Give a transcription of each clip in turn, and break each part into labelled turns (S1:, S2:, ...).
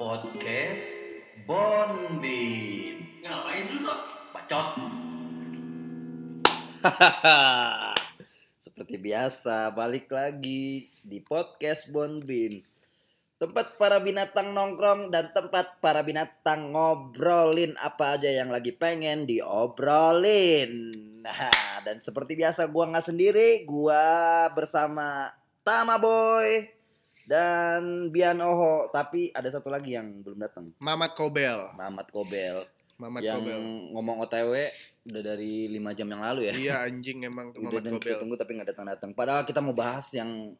S1: podcast Bondin.
S2: Ngapain lu sok?
S1: Bacot.
S3: Seperti biasa, balik lagi di podcast Bonbin. Tempat para binatang nongkrong dan tempat para binatang ngobrolin apa aja yang lagi pengen diobrolin. Nah, dan seperti biasa gua nggak sendiri, gua bersama Tama Boy dan Bian Oho, tapi ada satu lagi yang belum datang,
S4: Mamat Kobel.
S3: Mamat Kobel
S4: Mamat
S3: yang
S4: Kobel.
S3: ngomong OTW udah dari 5 jam yang lalu ya.
S4: Iya anjing emang tuh
S3: Udah
S4: Mamat
S3: dan kita
S4: Kobel.
S3: tunggu tapi nggak datang datang. Padahal kita mau bahas yang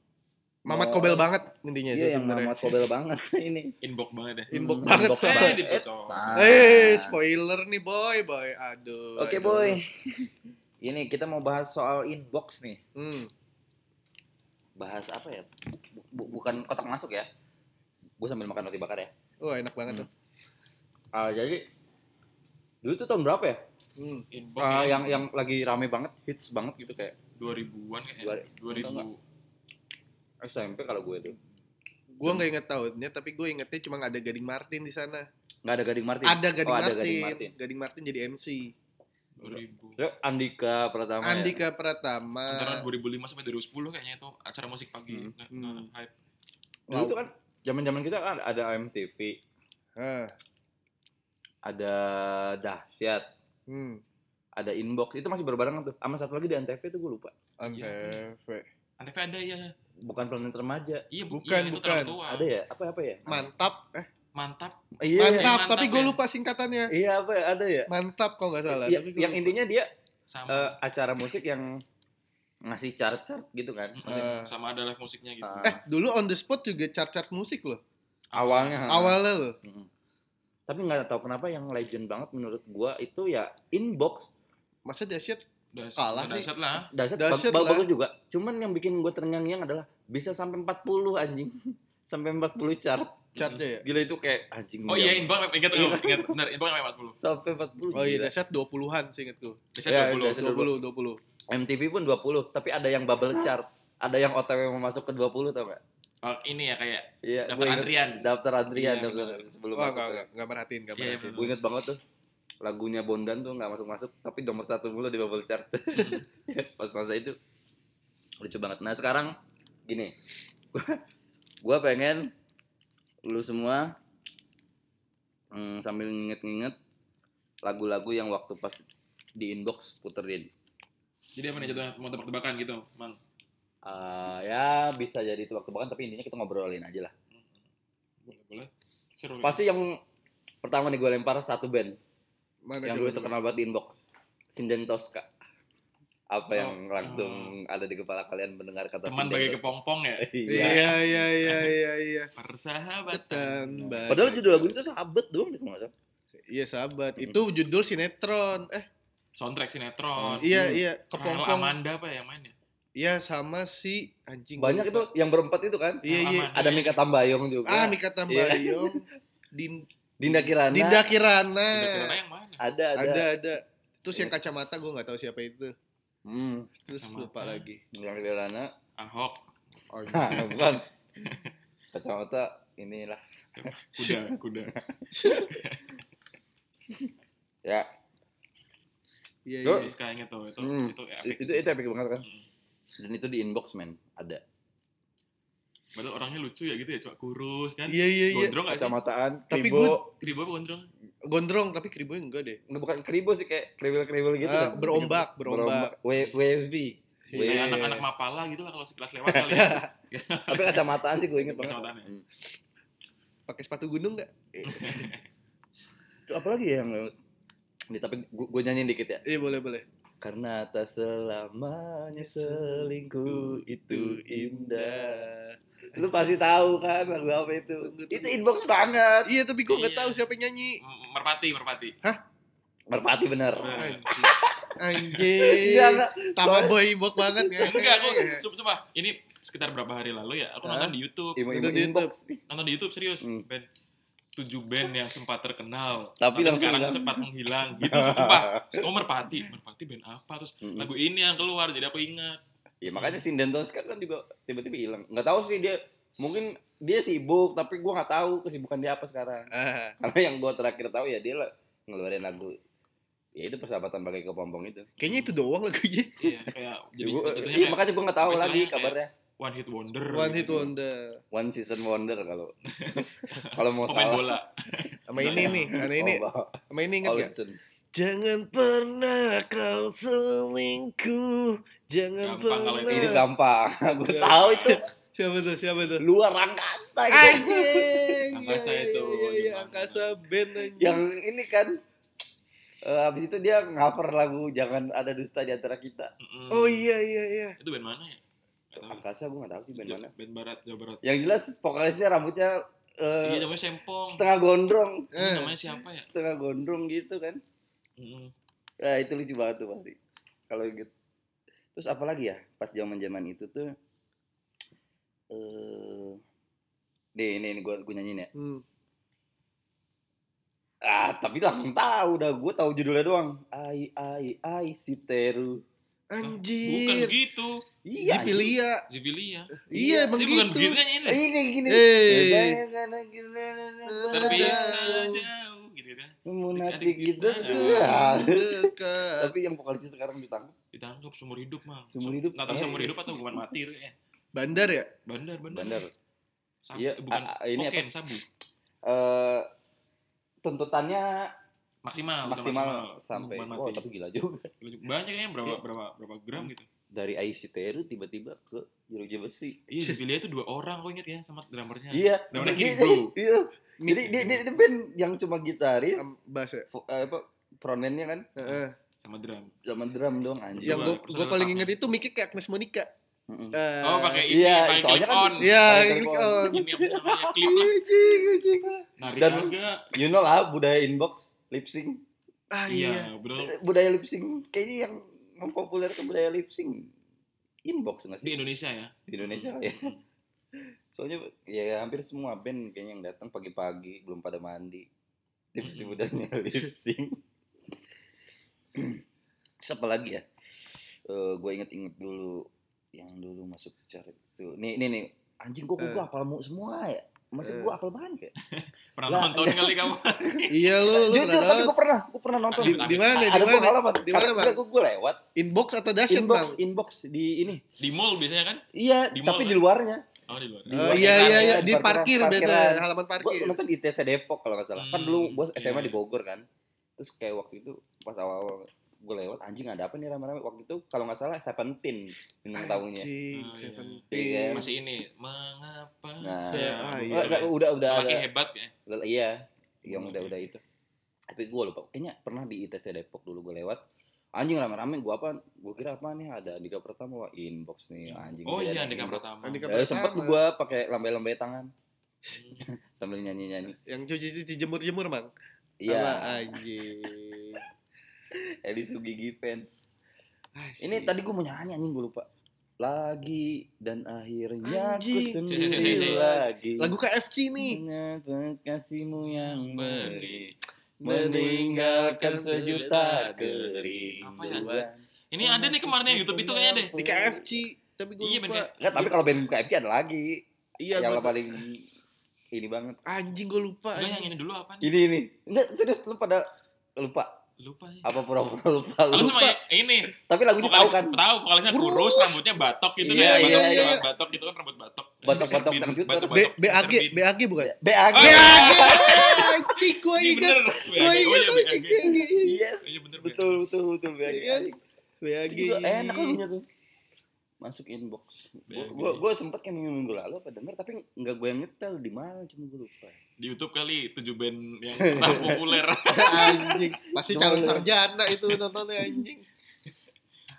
S4: Mamat
S3: mau-
S4: Kobel banget intinya itu
S3: Iya yang
S4: sebenarnya.
S3: Mamat Kobel banget ini.
S2: Inbox banget ya.
S4: Inbox
S3: Hmm,
S4: banget
S3: inbox
S4: saya.
S3: banget.
S2: dipocong.
S3: Nah.
S4: Eh, spoiler nih boy, boy. Aduh.
S3: Oke
S4: aduh.
S3: boy. Ini kita mau bahas soal inbox nih.
S4: Hmm.
S3: Bahas apa ya? Bu- bu- bukan kotak masuk ya. Gue sambil makan roti bakar ya.
S4: Wah, Oh, enak banget tuh.
S3: Ah, jadi dulu tuh tahun berapa ya?
S4: Hmm.
S2: Inbox
S3: Ah, yang yang lagi rame banget, hits banget gitu kayak
S2: 2000-an kayaknya.
S3: Dua-
S2: 2000.
S3: SMP kalau gue tuh.
S4: Gua nggak inget tahunnya, tapi gue ingetnya cuma ada Gading Martin di sana.
S3: Nggak ada Gading Martin.
S4: Ada Gading,
S3: Oh, ada
S4: Martin.
S3: Gading
S4: Gading
S3: Martin.
S4: Martin. jadi MC.
S2: 2000.
S3: Terus Ya, Andika Pratama. ya?
S4: Andika Pratama.
S2: Antara 2005 sampai 2010 kayaknya itu acara musik pagi.
S3: Hmm.
S2: Nah,
S4: Hmm.
S2: nah, hype.
S3: Dulu tuh kan zaman-zaman kita kan ada MTV,
S4: Ah,
S3: ada Dahsyat,
S4: Hmm.
S3: ada inbox itu masih berbarengan tuh sama satu lagi di antv tuh gue lupa
S4: Antv.
S2: Antv ada ya.
S3: bukan planet remaja
S2: Iya, bu-
S4: Bukan,
S2: iya, itu
S4: bukan.
S2: terlalu tua.
S3: ada ya apa apa ya
S4: Mantap. Eh,
S2: Mantap.
S3: iya
S4: mantap.
S2: Mantap
S4: Tapi gue
S2: ya.
S4: lupa singkatannya.
S3: iya apa ya? ada ya,
S4: Mantap kok nggak salah.
S3: Ya,
S4: tapi gua
S3: yang
S4: lupa.
S3: intinya dia eh,
S2: Sama.
S3: acara musik yang ngasih chart chart gitu kan
S2: Mm-mm.
S4: eh.
S2: sama ada live musiknya gitu.
S3: Ah.
S4: Eh, dulu on the spot juga chart-chart musik loh.
S3: awalnya
S4: Awalnya loh.
S3: Mm. tapi nggak tahu kenapa yang legend banget menurut gua itu ya inbox
S4: Masa dahsyat
S2: Udah
S4: Kalah
S2: udah
S4: sih.
S2: dahsyat lah.
S3: dasar
S4: Dahsyat lah.
S3: bagus juga cuman yang bikin gua terngiang-ngiang adalah bisa sampai 40 anjing sampai 40 chart
S4: chartnya ya?
S3: gila itu kayak anjing
S2: Oh iya, inbox ingat
S3: Iya.
S2: ingat ingat benar inbox sampai 40.
S3: sampai 40
S4: Oh iya,
S3: gila.
S4: dahsyat 20-an sih inget gue.
S2: Dahsyat
S3: Iya,
S2: 20.
S3: dahsyat.
S4: 20, 20.
S3: MTV pun 20, tapi ada yang bubble chart. Ada yang OTW mau masuk ke 20 tau gak?
S2: Oh, ini ya kayak
S3: Iya,
S2: daftar
S3: gua inget-
S2: antrian.
S3: Daftar antrian
S2: Iya,
S3: daftar sebelum masuk.
S4: Wah,
S3: ya.
S4: enggak, enggak, enggak merhatiin, enggak
S2: Iya,
S4: merhatiin.
S2: bener.
S3: Gue inget banget tuh lagunya Bondan tuh nggak masuk-masuk tapi nomor satu mulu di bubble chart pas masa itu lucu banget nah sekarang gini gue pengen lu semua mm, sambil nginget-nginget lagu-lagu yang waktu pas di inbox puterin
S2: Jadi apa nih jatuhnya mau tebak-tebakan gitu, Mang.
S3: Ah, ya bisa jadi itu waktu bahkan tapi intinya kita ngobrolin aja lah
S2: Boleh, boleh. Seru. ya.
S3: Pasti yang pertama nih gue lempar satu band
S4: Mana
S3: yang
S4: dulu
S3: dulu terkenal banget di inbox. Sinden Tosca. Apa
S2: Oh,
S3: yang langsung ada di kepala kalian mendengar kata
S2: Teman
S3: Sinden
S2: bagai
S3: Tosca?
S2: kepompong ya.
S3: Iya.
S4: Iya, iya, iya, iya, iya. Ketan
S2: Persahabatan.
S4: baik.
S3: Padahal judul lagu itu sahabat doang deh kalau nggak salah.
S4: Iya, sahabat. Itu judul sinetron. Eh,
S2: Soundtrack
S3: Oh,
S2: sinetron.
S4: iya, iya,
S2: Kepompong.
S4: kepompong.
S2: Amanda apa yang main ya?
S4: Iya, sama si anjing. gua
S3: Banyak itu
S4: lupa.
S3: yang berempat itu kan.
S4: Iya,
S2: Rahel
S4: iya.
S2: Amanda
S3: Ada
S2: ya.
S3: Mika Tambayong juga.
S4: Ah, Mika Tambayong. Din-
S3: Dinda Kirana.
S4: Dinda
S2: Dinda Kirana
S4: Kirana.
S2: yang ya? mana?
S3: Ada ada.
S4: Ada, ada. Terus
S3: Iya.
S4: yang kacamata gue nggak tahu siapa itu.
S3: Hmm,
S4: Terus
S2: Kacamata.
S4: lupa lagi.
S3: Dinda Kirana.
S2: Ahok.
S3: Nah, bukan. Kacamata inilah
S2: Kuda, kuda.
S3: ya.
S4: Iya,
S3: Yo.
S4: iya.
S2: Terus kayak inget tuh itu
S3: Hmm.
S2: itu ya, epic.
S3: Itu itu epic banget kan. Dan itu di inbox men, ada.
S2: Padahal orangnya lucu ya gitu ya, cuma kurus kan.
S4: Iya, iya, iya.
S2: Gondrong gak sih?
S3: Kacamataan,
S4: Tapi
S3: kribo.
S4: gua-
S2: Kribo apa gondrong?
S4: Gondrong tapi keribunya enggak deh.
S3: Nggak, bukan kribo sih kayak kriwil-kriwil gitu
S4: Ah,
S3: kan.
S4: berombak, berombak.
S3: We- wavy.
S4: Iya.
S2: Kayak anak-anak mapala gitu lah kalau sekilas lewat kali. ya.
S3: Tapi kacamataan sih gue inget banget.
S2: Kacamataan ya?
S3: Hmm.
S4: Pakai sepatu gunung enggak?
S3: Tuh, apalagi ya yang Nih, tapi gue, gue nyanyiin dikit ya.
S4: Iya, boleh, boleh.
S3: Karena tak selamanya selingkuh itu indah. Lu pasti tahu kan lagu apa itu. Itu inbox banget.
S4: Iya, tapi gue nggak
S2: Iya.
S4: tahu siapa yang nyanyi.
S2: M- Merpati, merpati.
S3: Merpati bener.
S2: Nah.
S4: Anjing.
S3: Iya, enggak.
S4: Tama boy bok banget ya.
S2: Enggak, aku sumpah, sumpah. Ini sekitar berapa hari lalu ya, aku
S4: Hah?
S2: nonton di YouTube.
S3: Ibu-ibu
S4: Itu di
S3: inbox.
S2: nonton di YouTube serius
S3: Hmm.
S2: band tujuh band yang sempat terkenal
S3: Tapi
S2: tapi,
S3: langsung
S2: sekarang
S3: hilang.
S2: cepat menghilang gitu sumpah oh merpati merpati band apa terus
S3: Mm-mm.
S4: Hmm.
S3: Iya,
S2: lagu ini yang keluar jadi aku ingat
S3: Ya makanya Sinden Tosca kan juga tiba-tiba hilang. Nggak tahu sih dia mungkin dia sibuk tapi gua nggak tahu kesibukan dia apa sekarang
S4: Ah,
S3: karena yang gua terakhir tahu ya dia lah ngeluarin lagu ya itu persahabatan bagai kepompong itu
S4: kayaknya itu doang lagunya.
S2: Iya, kayak jadi
S3: Gua-
S2: jatuhnya
S3: iya
S2: kayak
S3: makanya gua nggak tahu
S2: istilahnya
S3: lagi
S2: kayak-
S3: kabarnya
S2: one hit wonder.
S4: One Hit
S2: gitu.
S4: Wonder.
S3: one season wonder kalau kalau mau
S2: Pemain
S3: salah
S2: bola.
S4: Sama ini nih, sama ini, Eh.
S3: Oh, bah-
S4: sama ini inget
S3: all
S4: gak?
S3: season.
S4: Jangan pernah kau selingkuh. Jangan
S2: Gampang kalau
S4: pernah.
S2: itu.
S3: itu gampang gua
S2: Iya.
S3: tahu itu
S4: Siapa tuh? Siapa tuh?
S3: luar angkasa gitu.
S4: Anjing.
S2: Angkasa
S4: Iya,
S2: itu,
S4: Iya, iya,
S2: gimana?
S4: angkasa band anjing.
S3: yang ini kan eh, habis itu dia ngaper lagu jangan ada dusta di antara kita
S2: Mm-mm.
S4: Oh iya iya iya.
S2: Itu band mana ya? Nggak tahu.
S3: angkasa gua nggak tahu sih band
S2: Ja-
S3: mana
S2: Band barat, Jawa Barat.
S3: yang jelas vokalisnya rambutnya eh,
S2: Iya, namanya Sempong.
S3: setengah gondrong
S2: Ini
S4: Eh,
S2: namanya siapa ya?
S3: setengah gondrong gitu kan
S2: Mm-mm.
S3: ya itu lucu banget tuh pasti kalau gitu terus apalagi ya pas zaman zaman itu tuh eh nih ini ini gue nyanyiin ya
S4: Hmm.
S3: ah tapi langsung tahu dah gue tahu judulnya doang ai ai ai si teru
S2: Bukan gitu.
S4: Anjir.
S2: begitu.
S3: iya anjing.
S4: Zipilia.
S2: Zivilia.
S4: Iya, emang
S2: Tapi bukan
S4: gitu.
S2: begitu kan ini.
S3: Eh, ini gini
S4: Eh.
S2: Terpisah jauh gitu kan.
S3: Munafik gitu
S2: Adik-adik
S3: tuh.
S2: kita.
S3: Ah.
S4: Dekat.
S3: Tapi yang vokalisnya sekarang ditangkap.
S2: Ditangkap seumur hidup, Mang.
S3: Seumur hidup.
S2: Nggak tahu
S3: Eh.
S2: seumur hidup atau hukuman mati ya.
S4: Bandar ya?
S2: Bandar, bandar.
S3: Bener.
S2: Sabu,
S3: Iya,
S2: eh, bukan
S3: a- a- ini
S2: kokain, sabu.
S3: Eh tuntutannya
S2: Maksimal, bukan
S3: maksimal, sampai.
S2: Hukuman
S3: Wah,
S2: mati.
S3: tapi gila juga.
S2: Banyak kayaknya berapa
S3: Iya.
S2: berapa berapa gram gitu.
S3: Dari IC Teru tiba-tiba ke Jeruji Besi.
S2: Iya, Zivilia itu dua orang kok inget ya sama drummernya.
S3: Iya. Jadi-
S2: Namanya Kid Bro.
S3: Iya. Jadi dia, dia, dia band yang cuma gitaris,
S4: Am- Bass ya?
S3: vo- eh, apa frontman-nya kan
S4: Heeh.
S2: Sama drum.
S3: zaman drum dong anjing.
S4: Yang
S2: Coba,
S4: gue
S2: Iya, personal
S4: gue paling
S2: account-nya.
S4: inget itu Miki kayak Agnes Monica.
S3: Mm-mm.
S4: Eh,
S2: Oh, pakai ini,
S3: iya,
S2: pakai
S3: soalnya
S2: clip
S3: kan
S2: on.
S4: Iya,
S3: Pakai
S4: ini
S3: clip
S4: oh,
S2: Ini apa sih namanya clip lah.
S4: anjing, anjing.
S2: Narik
S3: Dan-
S2: harga.
S3: You know lah budaya inbox, lip sync.
S4: Ah iya.
S2: Iya, betul.
S3: Eh, Budaya lip sync kayaknya yang mempopulerkan budaya lip sync. Inbox nggak
S2: Di
S3: sih
S2: Indonesia ya.
S3: di Indonesia ya? Soalnya ya hampir semua band kayaknya yang datang pagi-pagi belum pada mandi. Tiba-tiba udah lip sync. Terus apa lagi ya? gue inget-inget dulu yang dulu masuk chart itu. Nih nih nih anjing kok gue apal mu semua ya. Masih
S4: Eh.
S3: gue apal banget ya.
S2: Pernah
S3: Lah,
S2: nonton kali kamu.
S4: Iya lu, lu
S3: Jujur tapi
S4: pernah
S3: gue pernah gue pernah nonton.
S4: di, di mana? Di
S3: ada
S4: mana?
S3: pengalaman.
S4: Di mana, Bang?
S3: Gue gue lewat
S4: Inbox atau dashboard?
S3: inbox inbox di ini.
S2: Di mall biasanya kan?
S3: Iya,
S2: Di mall,
S3: tapi di
S2: kan?
S3: luarnya.
S2: Oh, di luar.
S3: Di luar
S4: iya
S3: kendaraan
S4: iya
S3: ya,
S4: iya
S3: di
S4: di
S3: parkiran,
S4: parkir
S3: parkiran.
S4: biasa halaman parkir.
S3: gue nonton di ITC Depok kalau nggak salah kan
S2: Iya. Hmm,
S3: dulu gue
S2: iya,
S3: SMA di
S2: iya.
S3: Bogor kan terus kayak waktu itu pas awal-awal gue lewat anjing ada apa nih rame-rame waktu itu kalau nggak salah Seventeen bintang tamunya
S4: Anjing,
S2: Ah, iya.
S4: Seventeen.
S3: Hmm, Iya kan?
S2: Masih ini. Mengapa
S3: Nah.
S2: saya
S3: Eh,
S4: Ah, iya.
S3: nggak, udah udah ada
S2: Makin hebat ya.
S3: udah- iya yang
S2: Hmm,
S3: udah
S2: iya.
S3: udah itu tapi gue lupa kayaknya pernah di ITC Depok dulu gue lewat anjing rame-rame gue apa gue kira apa nih ada Andika Pertama wah inbox nih anjing
S2: Oh
S3: dia
S2: iya,
S3: ada
S2: Andika
S3: inbox.
S2: Pratama.
S4: Andika
S3: Eh, sempet
S4: Pratama.
S3: gue pakai lambai-lambai tangan
S2: Hmm.
S3: sambil nyanyi-nyanyi
S4: Yang cuci-cuci jemur-jemur, Mang. Sama
S3: iya
S4: anjing.
S3: Eli Sugigi fans
S4: Asik.
S3: Ini tadi gue mau nyanyi anjing gue lupa. Lagi dan akhirnya aku
S4: Anjing.
S3: sendiri
S2: Si, si, si, si.
S3: lagi.
S4: lagu KFC nih.
S3: Ingat kasihmu yang
S2: Iya,
S3: beri
S4: Meninggalkan
S3: meninggalkan sejuta
S4: sejuta
S2: Apa ya?
S3: kerinduan.
S2: Ini ada nih kemarin yang YouTube itu kayaknya deh.
S4: Di KFC, tapi gue
S2: Iya,
S4: lupa.
S2: bener.
S3: Enggak, tapi kalau band KFC ada lagi.
S4: Iya,
S3: yang
S4: gua-
S3: paling ini banget.
S4: anjing gue lupa.
S2: Enggak yang
S4: Anjing.
S2: ini dulu apa nih?
S3: Ini ini. Enggak serius lu pada lupa
S2: Lupa ya.
S3: apa pura-pura lupa
S2: Aku
S3: lu.
S2: cuma ya- ini
S3: Tapi lagunya tahu
S2: vokalis
S3: kan.
S2: tahu vokalisnya kurus,
S4: Kurus.
S2: rambutnya batok gitu
S4: Iya,
S2: kan, batok,
S4: iya, iya.
S2: batok, batok gitu kan rambut batok.
S3: Batok-batok
S2: Serbin,
S3: tangcuter.
S4: B,
S2: batok-batok Iya,
S4: BAG,
S2: serbin.
S4: BAG bukan?
S3: BAG.
S2: Oh, iya.
S4: BAG. Anjing gue
S2: Iya
S4: ingat.
S2: bener.
S4: Gue
S2: BAG. Oh
S4: ingat anjing,
S2: iya BAG.
S4: gua ingat.
S3: Yes.
S2: Iya, bener, bener.
S3: betul betul betul BAG.
S4: Iya kan? BAG.
S3: Itu juga enak lagunya tuh. Masuk inbox.
S2: Iya,
S3: Gue
S2: iya.
S3: gue sempet kayak minggu minggu lalu apa denger tapi nggak gue yang nyetel di mana cuma gue lupa.
S2: Di YouTube kali tujuh band yang pernah populer.
S4: anjing pasti
S3: Cuma
S4: calon
S3: lu-
S4: sarjana itu nontonnya anjing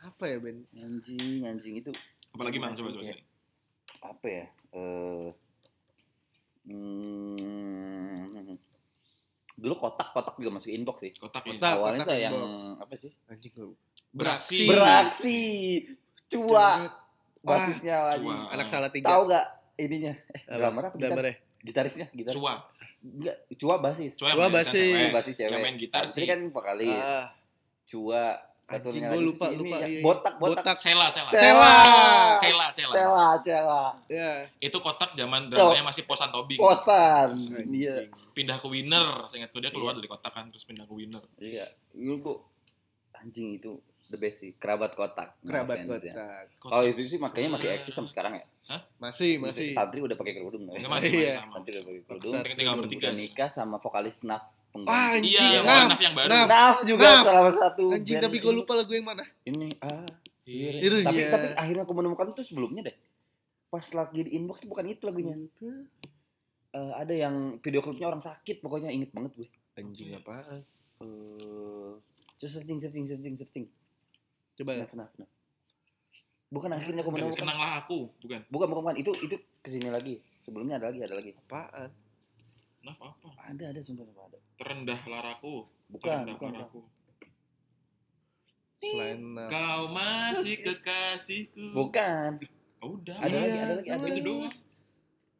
S4: apa ya Ben
S3: Anjing anjing itu
S2: Apalagi Mang coba coba.
S3: Iya. apa ya? Eh, hmm, dulu kotak kotak juga masuk inbox sih.
S2: Kotak ya.
S4: Kotak.
S3: Awalnya tuh yang
S4: inbox.
S3: apa sih?
S4: anjing gue
S2: Beraksi. Iya.
S3: Beraksi, cua,
S4: Wah,
S3: basisnya anjing.
S2: Cua.
S4: anak salah tiga
S3: Tahu gak ininya? Eh, drummer apa gitar?
S4: gambarnya
S3: Gitarisnya, gitaris.
S2: Cua.
S3: Enggak, cua basis.
S2: Cua yang
S4: Cua
S2: main
S4: basis.
S2: cewek.
S3: Basis Iya, cewek. kan
S2: Yang main gitar
S3: Basis
S2: sih.
S3: kan vokalis.
S4: Ah,
S3: Cua
S4: Anjing,
S3: Satunya
S4: gua
S3: lagi
S4: lupa,
S3: si ini
S4: lupa,
S3: yang
S4: iya, iya.
S3: Botak, botak.
S4: botak.
S2: Sela, sela.
S3: Sela.
S2: Cela, cela.
S3: Cela, cela.
S4: Ya.
S2: Itu kotak zaman dramanya masih posan tobing.
S3: Kosan.
S4: Anjing.
S3: Iya.
S2: Pindah ke winner. Seingat gue dia keluar dari kotak kan terus pindah ke winner.
S3: Iya. Lu kok anjing itu the best sih. Kerabat kotak. Nama
S4: Kerabat
S3: fansnya.
S4: botak.
S3: Kalau Oh, itu sih makanya masih eksis sama sekarang ya.
S4: Masih, masih.
S3: Tantri udah pakai kerudung.
S2: Enggak
S3: Tantri
S2: masih
S4: Iya.
S2: masih sama.
S3: udah pakai kerudung.
S4: Paksa.
S2: Tinggal bertiga.
S3: Udah nikah sama vokalis Naf
S4: Wah,
S3: pengganti.
S4: anjing.
S2: Iya, yang
S4: Naf,
S2: Naf yang baru.
S4: Ah, Naf.
S3: Naf juga
S4: Naf.
S3: salah satu.
S4: Anjing,
S3: band
S4: tapi gue lupa lagu yang mana.
S3: Ini ah.
S2: Iya.
S4: Itu
S3: Tapi
S4: ya.
S3: tapi akhirnya aku menemukan itu sebelumnya deh. Pas lagi di inbox tuh bukan itu lagunya. Eh, ada yang video klipnya orang sakit pokoknya inget banget gue.
S4: Anjing apa?
S3: Eh, Terus searching searching searching searching.
S4: Coba.
S3: Nah, kenapa? kenapa? Bukan akhirnya aku
S2: Ken-
S3: menemukan.
S2: Kenanglah aku, bukan.
S3: Bukan bukan bukan itu itu kesini lagi. Sebelumnya ada lagi ada lagi.
S4: Apaan?
S2: Naf apa?
S3: Ada ada sumpah sumpah, ada.
S2: Terendah laraku,
S3: Bukan
S2: terendah
S3: bukan.
S2: laraku.
S4: Selain uh, Naf.
S2: Kau masih kekasihku.
S3: Bukan
S2: Oh, udah.
S3: Ada
S4: Iya,
S3: lagi, ada lagi, ada
S4: Mas.
S2: Itu doang.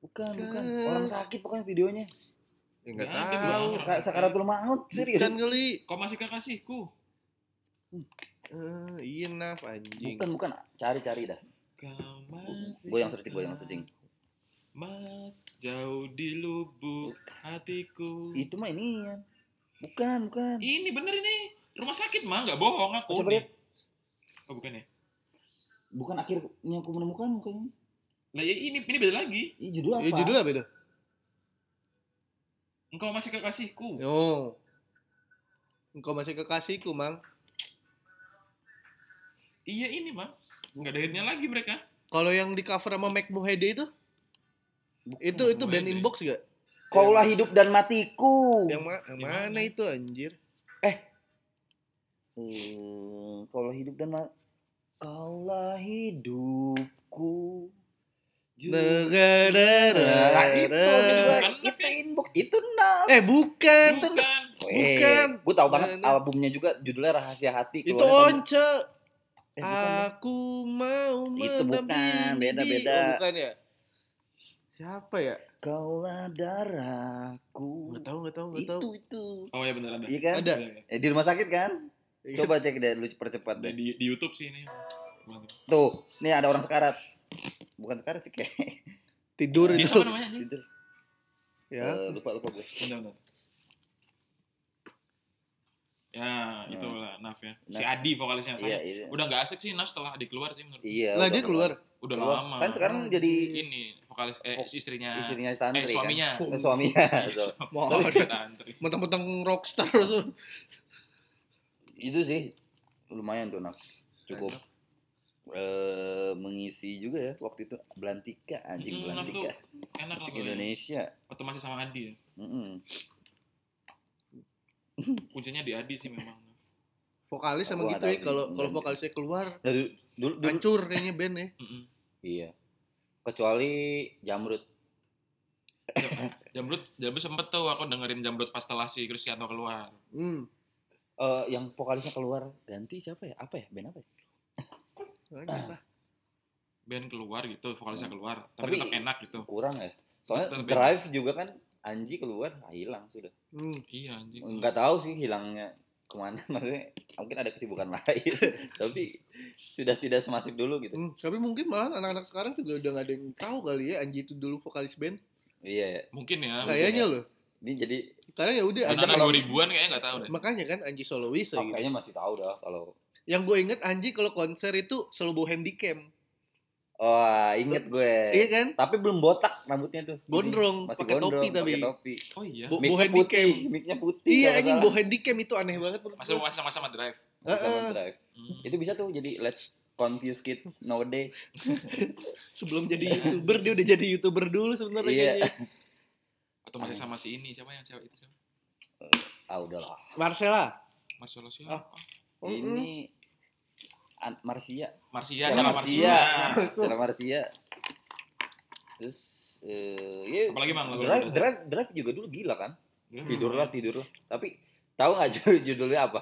S3: bukan bukan.
S4: Gas.
S3: Orang sakit pokoknya videonya.
S4: Ya, nggak
S2: Nggak ada,
S4: tahu.
S2: Mas.
S3: Seka- Sakaratul maut serius.
S4: Bukan kali.
S2: Kau masih kekasihku.
S4: Eh, iya Naf anjing.
S3: Bukan bukan. Cari cari dah.
S2: Kau masih.
S3: Gue yang searching gue yang searching.
S2: Mas jauh di lubuk hatiku.
S3: Itu mah ini ya. Bukan bukan.
S2: Ini bener ini. Rumah sakit mah nggak bohong aku.
S3: Coba
S2: nih.
S3: lihat.
S2: Oh bukan ya?
S3: Bukan akhirnya aku menemukan bukan.
S2: Lah ya ini ini beda lagi.
S3: Ini judul apa?
S4: Ya judulnya beda.
S2: Engkau masih kekasihku.
S4: Yo. Oh. Engkau masih kekasihku, Mang.
S2: Iya ini mah. Nggak ada hitnya lagi mereka.
S4: Kalau yang di cover sama Mike Mohede itu,
S3: Bukan.
S4: itu itu
S2: Mohede.
S4: band inbox gak?
S3: Kaulah hidup dan matiku.
S4: Yang, ma- yang
S2: Yang
S4: mana
S2: mana?
S4: itu anjir?
S3: Hmm, kaulah hidup dan ma- kaulah hidupku. Ju- Nah, itu juga
S2: Bukan,
S3: itu
S2: bukan.
S3: inbox itu nah.
S4: Eh bukan.
S3: Itu-
S2: Bukan.
S4: bukan.
S3: Gue tahu banget
S4: Nah, nah.
S3: albumnya juga judulnya Rahasia Hati.
S4: Itu Ah.
S3: keluarnya tahun-
S4: Once.
S3: eh, bukan, ya.
S4: Aku mau
S3: Itu bukan,
S4: mendampingi.
S3: beda-beda.
S4: Oh, bukan ya? Siapa ya?
S3: Kaulah darahku.
S4: Enggak tahu, enggak tahu, enggak
S3: Itu
S4: tahu.
S3: itu.
S2: Oh ya bener ada.
S3: Iya kan?
S4: Ada.
S2: Iya, iya.
S3: Eh, di rumah sakit kan?
S4: Iya.
S3: Coba cek deh lu percepat
S2: Ada
S3: deh.
S2: di, di YouTube sih ini. Mantap.
S3: Tuh, nih ada orang sekarat. Bukan sekarat sih kayak.
S4: Tidur
S2: Di
S4: itu.
S2: siapa namanya? anjing?
S3: Tidur.
S4: Ya.
S3: Eh, lupa lupa gue.
S2: Bentar, bentar. Ya, itu lah Naf ya. Si
S3: Naf.
S2: Adi vokalisnya
S3: Nah. Iya
S2: saya.
S3: iya.
S2: Udah nggak asik sih Naf setelah Adi keluar sih menurut.
S3: Iya. udah
S4: Lah dia keluar.
S2: Udah
S3: Keluar.
S2: lama.
S3: Kan sekarang jadi
S2: ini vokalis eh
S3: Vok-
S2: istrinya.
S3: istrinya Tantri
S2: eh suaminya.
S3: kan. Nah, Eh, suaminya. So,
S4: Mau
S2: Tantri.
S4: mentang-mentang rockstar so.
S3: itu sih lumayan tuh nak cukup eh mengisi juga ya waktu itu Belantika anjing
S2: Hmm,
S3: Belantika
S2: Enak
S3: musik
S2: kalau ya.
S3: Indonesia.
S2: Atau masih sama Adi ya.
S3: Mm-mm.
S2: Kuncinya di Adi sih memang.
S4: Vokalis
S3: Gua
S4: emang gitu
S3: nggak
S4: ya
S3: tahu
S4: kalau
S3: sih.
S4: kalau vokalisnya keluar
S3: Nah, dulu, dulu, dulu-
S4: hancur kayaknya band ya.
S2: Mm-mm.
S3: iya. Kecuali Jamrut.
S2: Jamrut, Jamrut sempet tuh aku dengerin Jamrut pas telasi terus Sianto keluar.
S4: Hmm.
S3: Eh, yang vokalisnya keluar ganti siapa ya? Apa ya? Band apa ya?
S4: Lanjut lah.
S2: Band keluar gitu, vokalisnya keluar.
S3: Hmm. Tapi-
S2: Tapi, tetap enak gitu.
S3: Kurang ya. Soalnya
S2: Betul, betul.
S3: Drive juga kan Anji keluar ah, hilang sudah.
S4: Hmm.
S2: Iya anjing.
S3: Enggak tahu sih hilangnya kemana maksudnya mungkin ada kesibukan lain tapi sudah tidak semasif dulu gitu
S4: Hmm, tapi mungkin malah anak-anak sekarang juga udah gak ada yang tahu kali ya Anji itu dulu vokalis band.
S3: iya ya.
S2: Mungkin ya.
S3: Kayak-
S4: Kayaknya loh.
S3: ini jadi
S4: Sekarang ya
S3: iya,
S4: udah Anji.
S2: Anak-anak 2000-an kayaknya nggak tahu deh.
S4: Makanya kan Anji solois
S3: oh,
S4: gitu.
S3: kayaknya masih tahu dah kalau
S4: Yang gue inget Anji kalau konser itu selalu bawa handycam.
S3: wah inget gue
S4: Iya kan?
S3: tapi belum botak rambutnya tuh
S4: Gondrong,
S3: masih
S4: pakai
S3: gondrong
S4: topi tapi.
S3: pakai topi
S2: Oh iya.
S4: Bu-
S3: Mic-nya
S4: bohem
S3: putih
S4: cam.
S3: mic-nya putih
S4: Iya
S3: kalau
S4: anjing
S3: salah.
S4: bawa handycam itu aneh banget menurut
S2: Masa
S4: gue.
S2: masa masa sama drive.
S3: Masih sama
S4: Heeh.
S3: drive.
S2: Hmm.
S3: itu bisa tuh jadi let's confuse kids no day
S4: Sebelum jadi YouTuber dia udah jadi YouTuber dulu sebenarnya
S3: Iya.
S4: kayaknya.
S2: Atau masih sama si ini siapa yang cewek itu siapa?
S3: ah udahlah
S4: Marcella.
S2: Marcelo
S3: Ah.
S2: siapa?
S4: Mm-mm. Iya,
S3: ini An- Marsia
S2: Marsia
S3: Sela
S2: sama
S3: Marsia.
S2: Marsia.
S3: Sela Marsia. Terus eh ya
S2: Apalagi mang lagu Hmm.
S3: drive, drive, drive juga dulu gila kan?
S2: Drive.
S3: Tidurlah, tidurlah. Tapi tahu nggak judul- judulnya apa?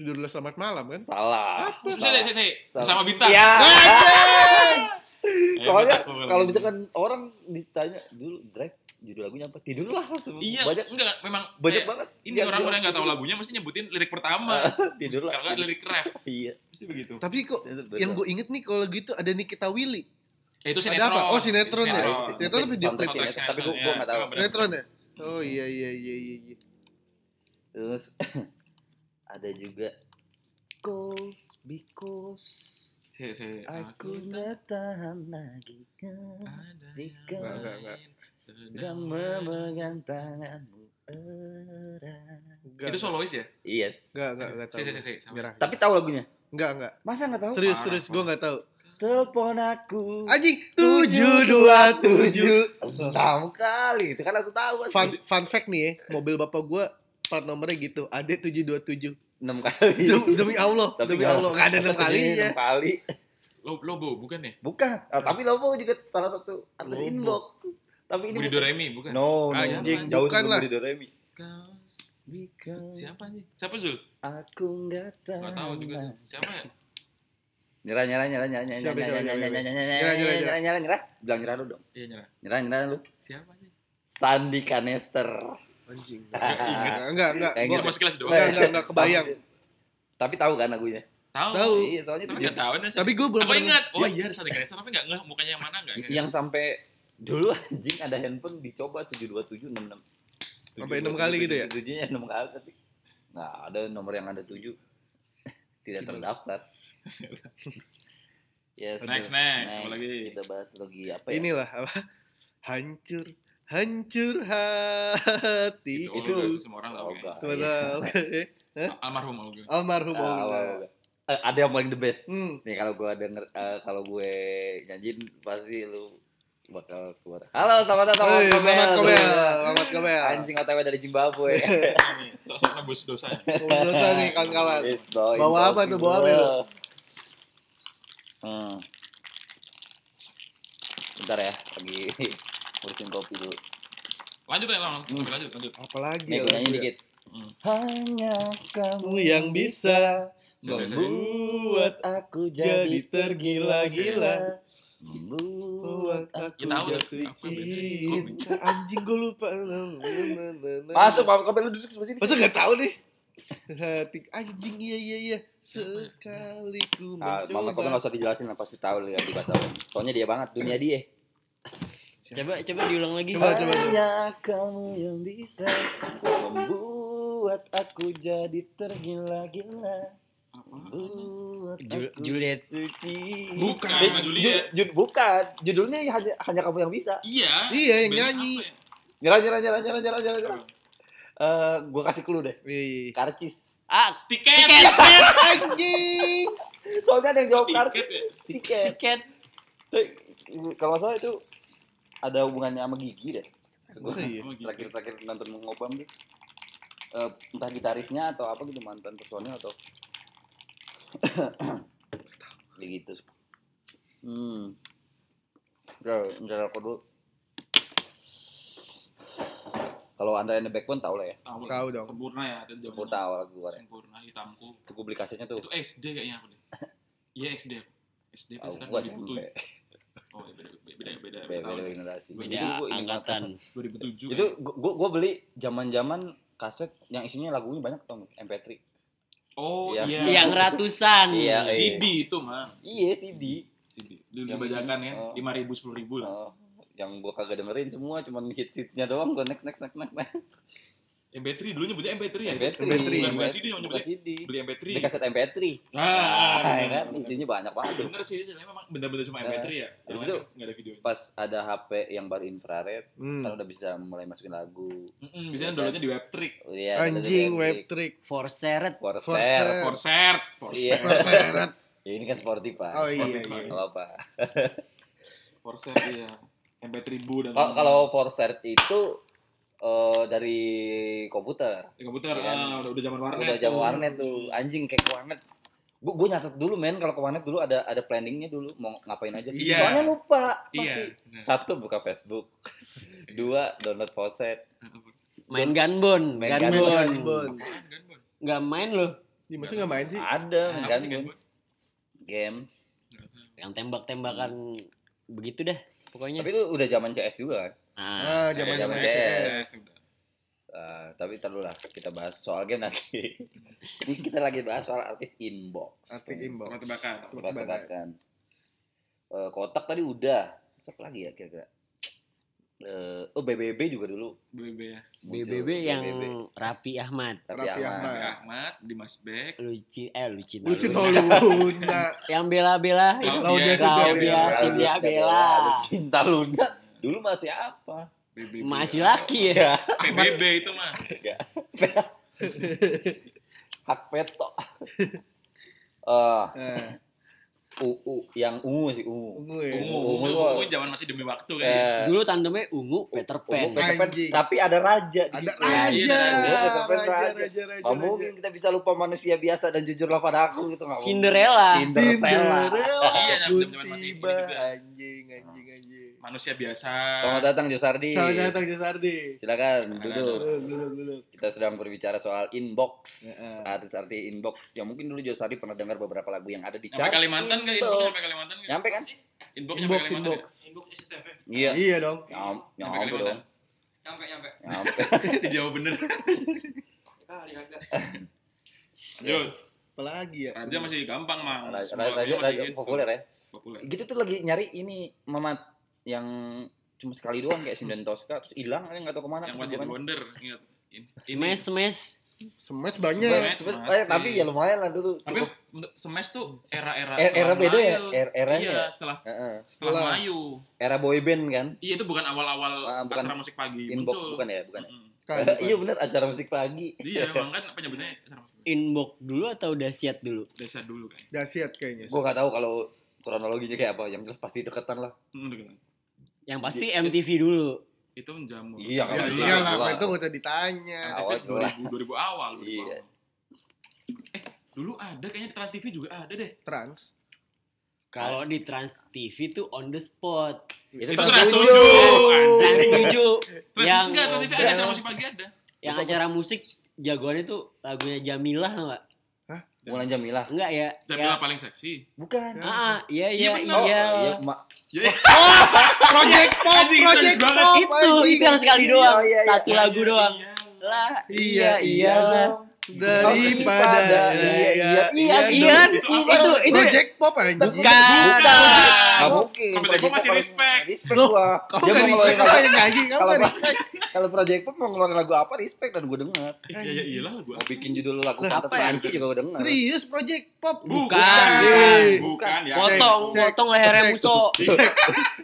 S4: Tidurlah selamat malam kan?
S3: Salah.
S2: Saya saya saya saya. sama bintang.
S3: Iya.
S2: Eh,
S3: Soalnya
S2: Bintang.
S3: kalau misalkan orang ditanya dulu drive judul lagunya apa tidurlah langsung
S2: Iya,
S3: banyak
S2: enggak, memang
S3: banyak
S2: kayak
S3: banget Iya, Ah,
S2: ini orang-orang yang nggak tahu kan lagunya mesti nyebutin lirik pertama.
S3: tidurlah
S2: Kalau nggak lirik rap,
S3: iya
S2: mesti begitu.
S4: Tapi kok yang gue inget nih kalau gitu ada Nikita Willy.
S2: Eh, itu
S4: Ada
S2: sinetron.
S4: apa? Oh,
S2: Iya.
S4: sinetron ya?
S3: Nah, itu sih,
S4: Sinetron tapi
S3: mungkin
S4: dia-
S3: soundtrack
S2: Soundtrack
S3: sinetron, tapi gue
S2: sinetron,
S3: gue
S2: ya.
S3: nggak tahu
S2: Memang benar.
S4: Sinetron ya?
S2: Hmm.
S4: Oh iya iya iya iya iya.
S3: terus ada juga go because
S2: Se- se-
S3: aku nggak tahan lagi
S2: ada
S3: Jika-
S4: Enggak,
S2: yang
S4: enggak, enggak.
S2: lain
S3: sedang
S2: sedang
S3: memegang tanganmu erat
S4: Enggak.
S2: Itu solois ya?
S3: yes
S4: Enggak enggak enggak tahu.
S2: Si, si, si, si, sama.
S4: Nyerah.
S3: tapi tahu lagunya
S4: Enggak enggak.
S3: masa nggak tahu
S4: Serius
S2: parah,
S4: serius gue
S2: parah.
S4: nggak tahu.
S3: Oh. telepon aku
S4: Anjing
S3: tujuh
S4: 7
S3: dua tujuh enam kali itu kan aku tahu kan.
S4: Fun, fun fact nih ya, mobil bapak gue part nomornya gitu, ada 727.
S3: enam kali
S4: Dem- Demi Allah, demi
S3: nggak-
S4: Allah, enggak ada enam
S3: Iya.
S4: ya.
S3: tapi
S4: kalinya.
S3: enam kali
S2: Lo- Lobo, bukan ya?
S3: bukan Ah, tapi Lobo juga salah satu artis
S4: Lobo.
S3: inbox tapi ini
S2: Budi Doremi, bukan?
S3: no no
S2: Anjing,
S3: jauh
S4: Nah, bukan
S3: sebelum
S4: lah.
S3: Budi Doremi
S2: Kau- Siapa nih? Siapa Zul?
S3: aku nggak tahu
S2: Gak tahu juga. Zul. Siapa ya?
S3: nyerah nyerah nyerah nyerah nyerah
S4: Siapa,
S3: nyerah
S4: siapa,
S3: nyerah nyerah
S4: siapa?
S3: nyerah
S4: Nyerah, nyerah,
S3: nyerah nyerah nyerah bilang nyerah lu dong
S2: Iya nyerah.
S3: nyerah nyerah lu
S2: Siapa nih?
S3: Sandi Kanester
S4: Anjing.
S2: iya.
S3: Hahaha.
S4: Enggak, enggak.
S3: Kayak
S4: Gua-
S2: Cuma sekilas doang.
S4: Enggak, enggak, enggak kebayang.
S3: tapi tahu kan lagunya
S2: Tahu.
S4: Tahu.
S3: iya soalnya
S2: Tapi
S3: tujuh
S2: enggak tahu nih.
S4: Tapi gue belum
S2: Aku
S4: pernah-
S2: ingat. Oh iya, ada Sandi Ganesha tapi enggak ngeh mukanya yang mana enggak.
S3: yang sampai dulu anjing ada handphone dicoba tujuh dua tujuh enam enam
S4: Sampai enam kali gitu ya?
S3: tujuhnya enam kali tapi nah ada nomor yang ada tujuh tidak terdaftar yes
S2: Next, next. Apa lagi?
S3: kita bahas lagi apa ya
S4: Inilah apa? Hancur, hancur hati.
S2: Itu,
S4: Itu.
S2: itu Iya. Oh, semua orang tahu
S3: Olga.
S2: kan.
S4: Coba
S3: Iya.
S4: tahu.
S2: Almarhum Olga.
S4: Almarhum
S3: Ah,
S4: Olga.
S3: Olga. Eh, ada yang paling the best
S4: Hmm.
S3: nih kalau gue denger eh, kalau gue nyanyiin pasti lu bakal keluar halo selamat datang
S4: Woi,
S3: Mamat
S4: Mamat
S3: Kobel.
S4: Kobel, Mamat Kobel.
S3: anjing otw dari Zimbabwe
S2: Ini, Sok-sok nebus dosa.
S4: Komentar nih kawan-kawan.
S3: Yes, boy.
S4: Bawa apa tuh? Bawa apa
S3: Bro.
S4: lu?
S3: Hmm. Bentar ya, lagi ngurusin kopi dulu.
S2: Lanjut ya, langsung
S3: Hmm.
S2: sampai lanjut, lanjut.
S4: Apalagi
S3: Nih, gue
S4: lagu
S3: nyanyi
S4: ya?
S3: dikit.
S2: Hmm.
S3: Hanya kamu
S4: Kamu yang bisa
S2: Saya- saya-
S4: membuat
S3: aku
S4: jadi tergila-gila.
S3: Membuat
S4: Buat aku
S2: Ya, tahu dah.
S4: jatuh
S2: Apa bedanya?
S4: cinta Anjing gue lupa
S3: Masuk, Pak Kobel lu duduk sebelah sini.
S4: Masa gak tahu deh Hati anjing iya iya iya
S2: ya?
S4: Sekali ku
S3: Ah, Mama Kobel
S4: mencoba
S3: nggak usah dijelasin lah, pasti tahu lihat di bahasa. apa. Soalnya dia banget, dunia dia.
S1: Coba coba diulang lagi.
S4: Coba, coba, coba.
S3: Hanya kamu yang bisa membuat aku jadi tergila-gila. Membuat
S1: Ju-
S3: aku
S1: Juliet.
S3: suci.
S2: Bukan,
S3: Eh,
S2: sama
S3: ju-
S2: Juliet.
S3: ju- bukan. Judulnya hanya hanya kamu yang bisa.
S2: Iya.
S4: Iya, yang
S2: Band
S4: nyanyi.
S2: apa ya?
S3: Nyerah, nyerah, nyerah, nyerah, nyerah, nyerah. nyerah. Eh, gua kasih clue deh.
S4: Iya iya iya.
S3: Karcis.
S1: Ah,
S2: Tiket. ya?
S4: Anjing
S3: Soalnya ada yang jawab
S2: Tiket.
S3: karcis.
S2: ya?
S3: Tiket.
S1: tiket.
S3: Eh, Kalau nggak salah itu ada hubungannya sama gigi deh.
S4: Masa iya?
S2: Sama gitu.
S3: terakhir-terakhir nonton ngobam tuh Eh, entah gitarisnya atau apa gitu mantan personil atau begitu hmm udah udah aku dulu kalau anda yang the backbone tau lah ya
S2: Tahu lah.
S4: Tahu dong.
S2: Sempurna ya. ada
S3: sepuluh
S2: zamannya.
S3: tahun lagi keluar ya
S2: Sempurna hitamku.
S3: itu gue beli kasetnya tuh
S2: Itu SD kayaknya aku deh. Iya SD aku. SD
S3: ah
S2: kan sekarang
S3: gue
S2: 2007.
S3: SMP
S2: Oh, iya, beda beda beda beda.
S3: beda
S2: tahun.
S3: beda generasi
S2: Beda
S3: Jadi
S1: Beda
S3: gua ingat
S1: angkatan.
S2: 2007.
S3: itu
S2: kan?
S3: gue gue beli zaman zaman kaset yang isinya lagunya banyak tau nggak? MP3
S2: Oh,
S3: Iya.
S2: iya.
S1: Yang ratusan.
S3: Iya, iya.
S2: CD itu mah.
S3: iya CD
S2: CD. Lu
S3: Yang
S2: dibajakan
S3: isi-
S2: ya,
S3: oh.
S2: 5000 10000 lah.
S3: Oh, yang gua kagak dengerin semua cuman hits hitsnya doang gua next next next next next
S2: MP3 dulu nyebutnya MP3 ya. itu?
S3: MP3
S4: MP3.
S2: Bukan bukan CD
S3: bukan
S2: yang nyebutnya.
S3: CD
S2: Beli MP3.
S3: di kaset MP3
S2: Ah,
S3: ah,
S2: bener,
S3: kan
S2: bener.
S3: isinya banyak banget tuh.
S2: bener sih, sebenarnya memang benda-benda cuma MP3
S3: Nah,
S2: ya.
S3: Habis itu-
S2: Yang lain nggak ada videonya.
S3: pas ada HP yang baru infrared
S4: Hmm.
S3: kan udah bisa mulai masukin lagu
S2: Mm-mm,
S3: ya.
S2: biasanya downloadnya di Webtrick.
S3: Iya,
S4: Anjing
S3: ada di-
S4: web trick
S1: For seret.
S3: Corsair
S4: Corsair.
S2: Corsair, Corsair,
S3: iya
S4: Perseret
S3: ya, ini kan Spotify
S4: Oh iya
S2: Spotify.
S4: iya
S3: Nggak apa
S2: Corsair iya. MP3 Bu dan
S3: kalau kalau Corsair itu eh, dari komputer
S2: Ya, komputer
S3: Iya.
S2: ah, udah udah zaman warnet.
S3: udah jam
S2: tuh.
S3: warnet tuh anjing kayak ke warnet gua gua nyatet dulu men kalau ke warnet dulu ada ada planningnya dulu mau ngapain aja
S2: Iya.
S3: soalnya lupa pasti
S2: Iya. bener.
S3: satu buka Facebook dua download poset
S1: Main gunbon.
S3: Main
S1: Gunbon.
S4: Bon.
S2: Apaan, Gunbon?
S1: Nggak main loh.
S4: Ih, Masa gak main
S2: Ah,
S4: sih?
S3: ada
S2: Apa
S3: kan
S2: sih, Gunbon?
S3: games
S2: Nggak tahu.
S1: Yang tembak-tembakan begitu dah pokoknya.
S3: Tapi itu udah zaman CS juga kan.
S1: Ah,
S4: Ah, zaman
S3: zaman
S4: saya.
S3: CS.
S2: udah.
S3: Eh, tapi terlalu lah kita bahas soal game nanti. Ini kita lagi bahas soal artis inbox.
S4: Artis inbox.
S2: Tebak-tebakan.
S3: Tebak-tebakan. Eh, kotak tadi udah. Siapa lagi ya kira-kira? Eh, oh BBB juga dulu.
S2: BB ya.
S3: muncul.
S1: BBB yang Rapi Ahmad.
S3: Tapi
S4: Raffi
S3: aman.
S4: Ahmad.
S2: Raffi Ahmad, Dimas Beck.
S1: Luci eh Luci.
S4: Lucu
S1: Nalus.
S4: tau Luna.
S1: Yang bela-bela
S3: Iya.
S4: Laudia
S2: Laudia Iya, juga
S4: juga
S1: Laudia.
S4: bela.
S1: Cinta
S3: Cinta
S1: Iya, Bella.
S3: Cinta Luna. Dulu masih apa?
S2: BBB.
S1: masih laki ya.
S2: PBB itu mah.
S3: Hak peto. Eh,
S4: Eh,
S3: UU yang ungu sih ungu.
S4: ungu ya.
S2: Ungu,
S3: Ungu,
S2: ungu,
S3: Ungu.
S2: ungu zaman masih demi waktu kayaknya.
S3: Eh,
S1: Dulu tandemnya ungu Peter Pan.
S3: ungu Peter Pan,
S4: Anjing.
S3: tapi ada raja. di
S4: Ada
S3: situ.
S4: raja,
S2: Iya,
S3: Peter Pan
S4: raja,
S3: raja.
S4: raja, raja.
S3: Nggak mungkin kita bisa lupa manusia biasa dan jujurlah pada aku gitu nggak mungkin.
S1: Cinderella.
S3: Cinderella.
S4: Cinderella.
S2: Iya, zaman-
S4: Pun
S2: zaman masih
S4: tiba.
S2: ini juga.
S4: Anjing, anjing, anjing.
S2: Manusia biasa.
S3: Selamat datang Josardi.
S4: Selamat datang Jasardi.
S3: Silakan duduk.
S4: Gulung, gulung, gulung.
S3: Kita sedang berbicara soal inbox,
S4: Heeh.
S3: artis-artis inbox. Yang mungkin dulu Josardi pernah dengar beberapa lagu yang ada di
S2: Sampai
S3: chart.
S2: Kalimantan gak? Inbox sampai Kalimantan gak?
S3: Nyampe kan?
S2: Inbox
S4: Inbox,
S2: nyampe Kalimantan
S4: inbox.
S2: nggak? Inbox STV.
S3: Iya.
S4: Iya dong.
S3: Nyam-
S2: Nyampe
S3: Nyampe
S2: Kalimantan.
S3: dong.
S2: Nyampe, nyampe.
S3: Nyampe.
S2: Dijawab bener. Lanjut.
S4: Apalagi
S3: Kan.
S4: ya.
S2: Raja masih gampang, Mang.
S3: Raja,
S2: Semua
S3: raja,
S2: lagunya masih
S3: raja
S2: hits tuh.
S3: nah, populer ya.
S2: Populer.
S3: Gitu tuh lagi nyari ini Mamat yang cuma sekali doang kayak Sinden Tosca terus hilang aja nggak tahu kemana.
S2: Yang
S3: terus
S2: One Hit
S3: gimana.
S2: Wonder. Ingat. In- ini-
S1: Smash Smash.
S4: Smash banyak.
S2: Smash.
S3: Cuma-
S2: masih.
S3: eh, tapi ya lumayan lah dulu.
S2: Tapi
S3: Cukup.
S2: untuk Smash tuh era-era
S3: Eh, era
S2: setelah
S3: beda ya,
S2: Mayu.
S3: Er- eranya.
S2: Iya,
S3: ya?
S2: setelah
S3: Heeh.
S2: setelah
S4: Setelah.
S2: Mayu.
S3: Era boyband kan?
S2: Iya, itu bukan awal-awal
S3: Ah, bukan.
S2: acara musik pagi
S3: Inbox
S2: muncul.
S3: bukan ya, bukan. ya?
S2: Mm-mm.
S4: Kali,
S3: iya benar acara musik pagi.
S2: Iya, emang kan penyebutnya acara musik
S1: Inbox dulu atau dahsyat dulu?
S2: desa dulu kan.
S4: Dahsyat kayaknya.
S3: Gua nggak tahu kalau kronologinya kayak apa, yang jelas pasti deketan lah.
S1: Yang pasti MTV dulu.
S2: Itu menjamu.
S3: Iya,
S4: Ya,
S3: Iya,
S4: iya
S3: iya.
S4: lah, itu gak usah ditanya.
S3: Awal
S2: Awal
S3: dulu lah.
S2: 2000, 2000 awal. 2000
S3: Iya.
S2: awal. Eh, dulu ada kayaknya Trans TV juga ada deh.
S4: Trans.
S1: Kalau di Trans TV tuh on the spot.
S3: Itu
S2: Itu
S3: Trans
S2: Trans
S3: Studio.
S2: 7.
S1: Trans 7
S2: Yang
S1: yang
S2: enggak, Trans TV ada acara musik pagi ada.
S1: yang acara musik jagoannya tuh lagunya Jamilah enggak?
S3: Mulan Jamilah.
S1: Enggak ya?
S2: Jamilah paling seksi.
S3: Bukan.
S1: Ya. Ah, iya
S2: Iya,
S1: iya
S2: bener.
S3: Oh,
S1: iya.
S3: iya, Ma-
S2: Ya,
S4: Project Pop,
S2: Anjing,
S4: Project
S2: serius banget.
S4: Pop.
S1: Itu
S4: anjing.
S1: itu yang sekali
S3: Iya,
S1: doang.
S3: iya, iya.
S1: Satu lagu doang.
S2: Iya.
S1: Lah,
S4: Iya, iyalah. Daripada
S3: Daripada iya, iya,
S1: iya
S4: dong.
S1: iya
S2: Itu
S1: itu
S2: apa?
S1: itu, itu
S4: Project Pop anjing.
S1: bukan.
S3: Nggak
S2: Bukan.
S3: mungkin.
S2: Sampai tadi gua masih respect.
S3: Respect
S4: Loh,
S3: gua.
S4: Kamu
S3: Dia
S4: gak
S3: mau ngeluarin
S4: respect
S3: lagu-
S4: aja nyanyi, kamu
S3: Kalau
S4: gak
S3: Bang-
S4: respect.
S3: Kalau Project Pop mau ngeluarin lagu apa respect dan gue denger.
S2: Ya ya iyalah gua.
S3: Mau bikin judul lagu
S1: Lah,
S3: Pantat
S1: apa ya?
S3: Banci juga gue denger.
S4: Serius Project Pop.
S1: Bukan.
S4: Bukan.
S2: iya. Bukan ya.
S4: Foto.
S1: potong
S4: Cek,
S1: potong lehernya
S4: cek.
S1: buso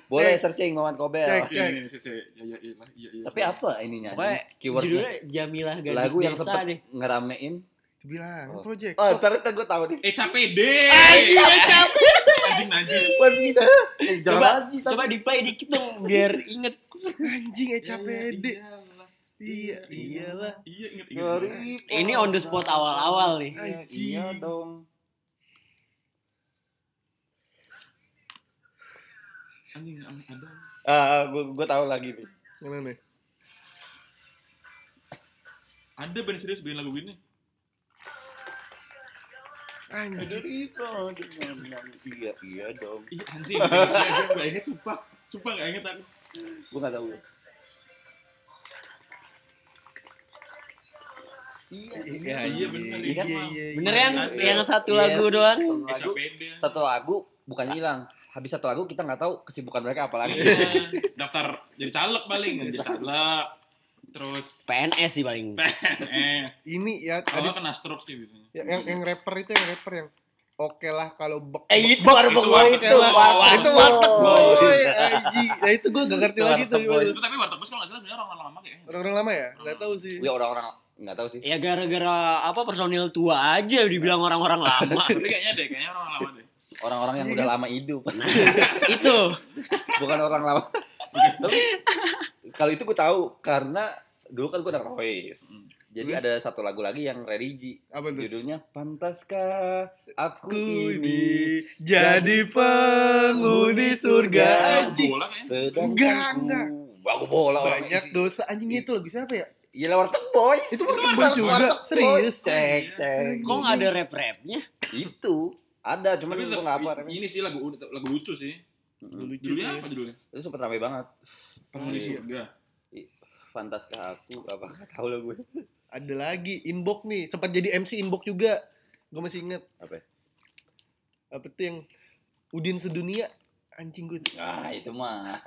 S3: Boleh
S4: Cek.
S3: searching Mamat Kobel.
S4: Cek.
S2: Iya, iya, iya, iya, iya, iya, iya, iya.
S3: Tapi apa ininya?
S1: Pokoknya
S3: Keywordnya
S1: judulnya Jamilah gadis
S3: lagu yang
S1: desa
S3: sempet
S1: deh
S3: ngeramein.
S4: Bilang
S3: Oh.
S4: Project
S3: Oh,
S4: Pop.
S3: ntar ntar gue tahu nih.
S2: Eh capek deh.
S4: Anjing, ya capek.
S2: Anjing najis.
S3: Wah, ini dah. Eh, Jangan
S1: coba
S3: lagi, tapi-
S1: coba di play dikit dong biar inget
S4: Anjing, ya capek.
S2: Iya,
S4: deh.
S2: iyalah.
S4: Iya, iyalah.
S2: Iya, inget inget.
S3: Daripada-
S1: ini on the spot awal-awal nih
S3: Iya,
S4: Anjing.
S3: Iya dong.
S2: Anjing anjing, ada.
S3: Ah, gue gue tahu lagi nih.
S4: Mana nih?
S2: Ada band serius bikin lagu gini.
S4: Anjing.
S3: Iya, iya dong.
S2: Ih anjing, gue gak inget sumpah Sumpah gak inget aku Eh,
S3: Gue gak tahu. Iya,
S2: Iya, iya bener
S4: Iya,
S2: iya,
S4: iya, iya.
S1: bener kan
S2: Ada.
S1: yang satu
S3: Iya.
S1: lagu doang
S3: Satu
S2: Eh
S3: lagu,
S2: capek dia
S3: satu lagu bukan hilang. Habis satu lagu kita nggak tahu kesibukan mereka apa lagi.
S2: Iya, Daftar jadi caleg paling Jadi caleg Terus
S1: PNS sih paling
S2: PNS
S4: Ini ya
S2: Kalau
S4: tadi
S2: nggak kena stroke sih biasanya
S4: Ya, yang yang rapper itu yang rapper yang oke lah kalau bek
S3: Eh,
S4: bek-
S3: itu baru
S2: Itu
S3: gua
S2: warteg
S3: itu.
S2: boy.
S3: warteg
S4: itu
S3: boy.
S4: warteg boy anjing nah itu gue gak ngerti
S3: Itu
S4: lagi tuh
S3: warteg boy.
S2: Itu tapi warteg bus kalau nggak salah bener orang eh, lama kayaknya
S4: orang-orang lama ya nggak tahu sih
S3: Ya orang-orang nggak tahu sih.
S1: ya gara-gara apa personil tua aja dibilang orang-orang lama
S2: Tapi kayaknya deh, kayaknya orang lama deh
S3: Orang-orang yang udah lama hidup,
S1: itu
S3: bukan orang lama. Tapi kalau itu gue tahu karena dulu kan gue udah rois. Jadi
S4: Terus?
S3: ada satu lagu lagi yang religi.
S4: apa tuh
S3: Judulnya Pantaskah aku
S4: aku
S3: ini
S4: ini jadi penghuni surga
S3: Eh,
S2: Lagu
S4: anjing
S2: bola kayaknya
S3: sedang
S4: Enggak, enggak.
S3: Aku bola orang
S4: banyak dosa anjing itu lagu siapa ya
S3: Iya lewat boy.
S4: itu bukan gue juga serius
S3: Cek cek.
S1: kok nggak ada rap-rapnya
S3: Itu ada cuman
S2: Tapi
S3: gue
S2: tetep
S3: enggak apa. iya.
S2: ini sih lagu lagu lucu sih
S4: Dulu ya.
S2: Judulnya apa judulnya?
S3: Itu sempet rame banget.
S2: Penghuni
S4: iya.
S2: surga.
S3: Fantaskah aku apa nggak tahu lah gue.
S4: Ada lagi inbox nih, sempat jadi MC inbox juga. Gue masih inget.
S3: Apa?
S4: Apa tuh yang Udin sedunia anjing gue.
S3: Ah, itu mah.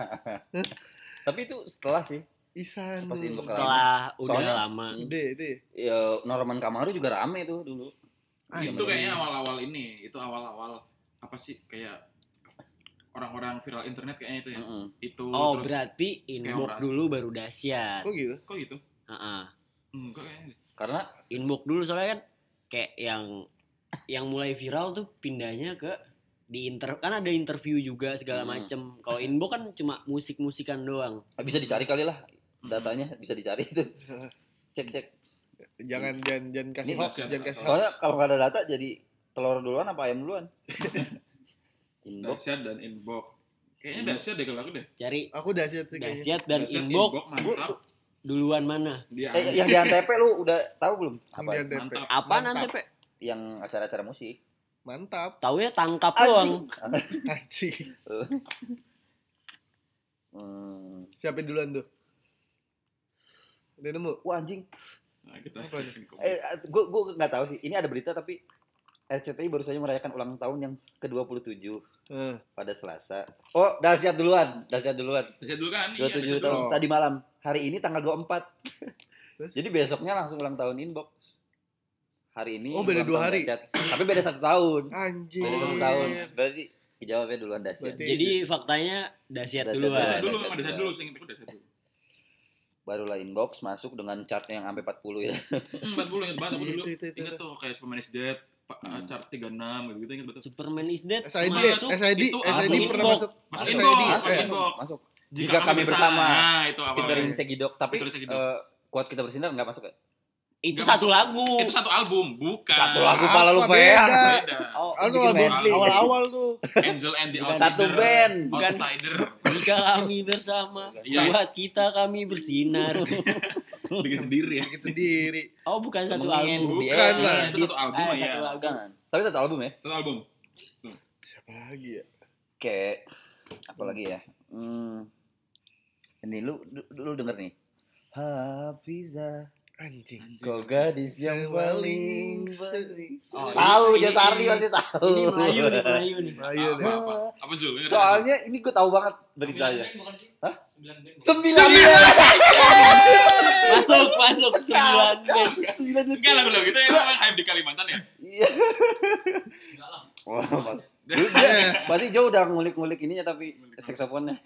S3: Tapi itu setelah sih.
S4: Isan.
S3: Pas inbox lama.
S1: Setelah udah
S3: Soalnya-
S1: lama.
S4: Gede itu. ya.
S3: Ya, Norman Kamaru juga rame tuh dulu. Iya,
S4: Ah,
S2: itu kayaknya awal-awal ini, itu awal-awal apa sih kayak orang-orang viral internet kayaknya itu ya.
S3: Mm-mm.
S2: Itu
S1: Oh,
S2: terus
S1: berarti inbox
S2: orang-
S1: dulu baru dahsyat.
S4: Kok gitu?
S2: kok gitu?
S1: Heeh.
S2: Enggak kayaknya.
S3: Karena
S1: Inbox dulu soalnya kan kayak yang yang mulai viral tuh pindahnya ke di inter kan ada interview juga segala
S3: Hmm.
S1: macem. Kalau inbox kan cuma musik-musikan doang.
S3: ah, bisa dicari kali lah
S2: Hmm.
S3: datanya bisa dicari itu. Cek-cek.
S4: Jangan jangan jangan kasih
S3: Ini
S4: hoax,
S2: nasihat
S4: jangan kasih hoax.
S2: atau-
S3: Soalnya kalau nggak ada data jadi telur duluan apa ayam duluan? Inbox.
S2: Dasyat dan inbox. Kayaknya
S3: Inbox.
S2: dasyat deh kalau aku deh.
S1: Cari
S4: Aku ya. dahsyat sih kayaknya.
S1: dahsyat dan
S2: Dasyat,
S1: inbox
S2: mantap.
S1: duluan mana?
S2: Dia
S3: Eh, iya. yang di Antep lu udah tahu belum? Apa?
S4: Yang di Antep.
S2: mantap.
S1: Apa
S4: Mantap.
S1: nanti pe?
S3: Yang acara-acara musik.
S4: Mantap.
S1: Tahu ya tangkap doang.
S3: Anjing.
S4: Anjing.
S3: Hmm.
S4: Siapa duluan tuh? Udah nemu?
S3: Wah anjing.
S2: Nah, kita
S4: Apa
S2: cekin kok.
S3: Eh, gue gue nggak tahu sih. Ini ada berita tapi RCTI baru saja merayakan ulang tahun yang ke-27
S4: Heeh.
S3: pada Selasa. Oh, dahsyat duluan, dahsyat duluan.
S2: Dasyat dulu kan?
S3: 27
S2: Iya, dasyat
S3: tahun
S2: dulu.
S3: tadi malam. Hari ini tanggal 24.
S4: Terus?
S3: Jadi besoknya langsung ulang tahun inbox. Hari ini
S4: Oh, beda
S3: ulang
S4: dua
S3: tahun
S4: hari.
S3: Dahsyat. Tapi beda satu tahun.
S4: Anjing. Iya,
S3: Beda satu
S2: Oh.
S3: tahun. Berarti jawabnya duluan dahsyat.
S4: Berarti-
S1: Jadi faktanya dahsyat
S3: Dahsyat
S2: Dasyat
S1: duluan.
S2: dulu,
S3: Dasyat
S2: emang dasyat
S3: dulu.
S2: dulu. Seingat aku dasyat dulu.
S3: Barulah inbox masuk dengan chartnya yang sampai 40 ya.
S2: Hmm, 40 ingat banget aku dulu.
S4: Itu, itu, itu,
S2: Ingat
S4: itu.
S2: tuh kayak Superman is Dead, pa- eh,
S3: Hmm.
S2: chart 36 gitu ingat betul.
S1: Superman is dead.
S4: SID,
S1: masuk.
S4: SID,
S2: itu
S4: SID
S2: masuk
S4: pernah
S1: inbox.
S4: masuk.
S2: Masuk
S4: Masuk
S2: inbox,
S4: ID,
S2: masuk
S4: eh.
S2: inbox.
S3: Masuk. Jika kami bersama.
S2: Nah, itu apa?
S3: Featuring Segidok. Tapi
S2: Featuring Segidok.
S3: eh, kuat kita bersindar nggak masuk ya?
S1: Itu
S2: Nggak
S1: satu lagu.
S2: Itu satu album, bukan.
S3: Satu lagu
S4: Apa
S3: pala lu
S4: Ah, beda?
S3: Fer.
S2: Beda.
S3: Oh,
S4: Aku
S3: bikin
S4: album
S3: band.
S4: awal-awal tuh.
S2: Angel and the
S1: Bukan.
S2: Outsider.
S3: Satu band.
S1: Bukan.
S2: Outsider.
S1: Jika kami bersama,
S2: Iya.
S1: buat kita kami bersinar.
S2: Bikin sendiri ya.
S4: Bikin sendiri.
S1: Oh, bukan satu
S3: Temenin.
S1: album.
S4: Bukan
S3: Iya,
S4: lah.
S2: Itu satu album
S1: Ah,
S2: ya.
S1: satu album.
S3: Bukan. Tapi satu album ya?
S2: Satu album.
S4: Siapa lagi ya?
S3: Kayak apa lagi ya? Hmm. Ini lu lu, lu denger nih. Hafiza,
S4: Anjing.
S3: kau gadis yang
S4: Yang
S3: paling
S4: paling-
S1: Oh,
S3: tahu
S1: ini-
S3: Jasardi
S1: ini-
S3: pasti tahu.
S1: Ini Melayu nih, Melayu nih.
S4: Ayo deh.
S2: Apa? Apa Zul?
S3: iya.
S2: Ingat
S3: Soalnya ini gue tahu banget
S2: nggak?
S3: beritanya.
S2: Sembilan band bukan sih?
S3: Hah?
S2: Sembilan band bukan?
S3: Sembilan ya.
S1: Masuk, masuk. Sembilan band.
S3: Sembilan ya.
S2: Enggak lah kalau gitu ya emang hype di Kalimantan ya.
S3: Iya.
S2: Enggak lah.
S3: Wah, mat- Dulu dia- berarti Joe udah ngulik-ngulik ininya tapi saksofonnya.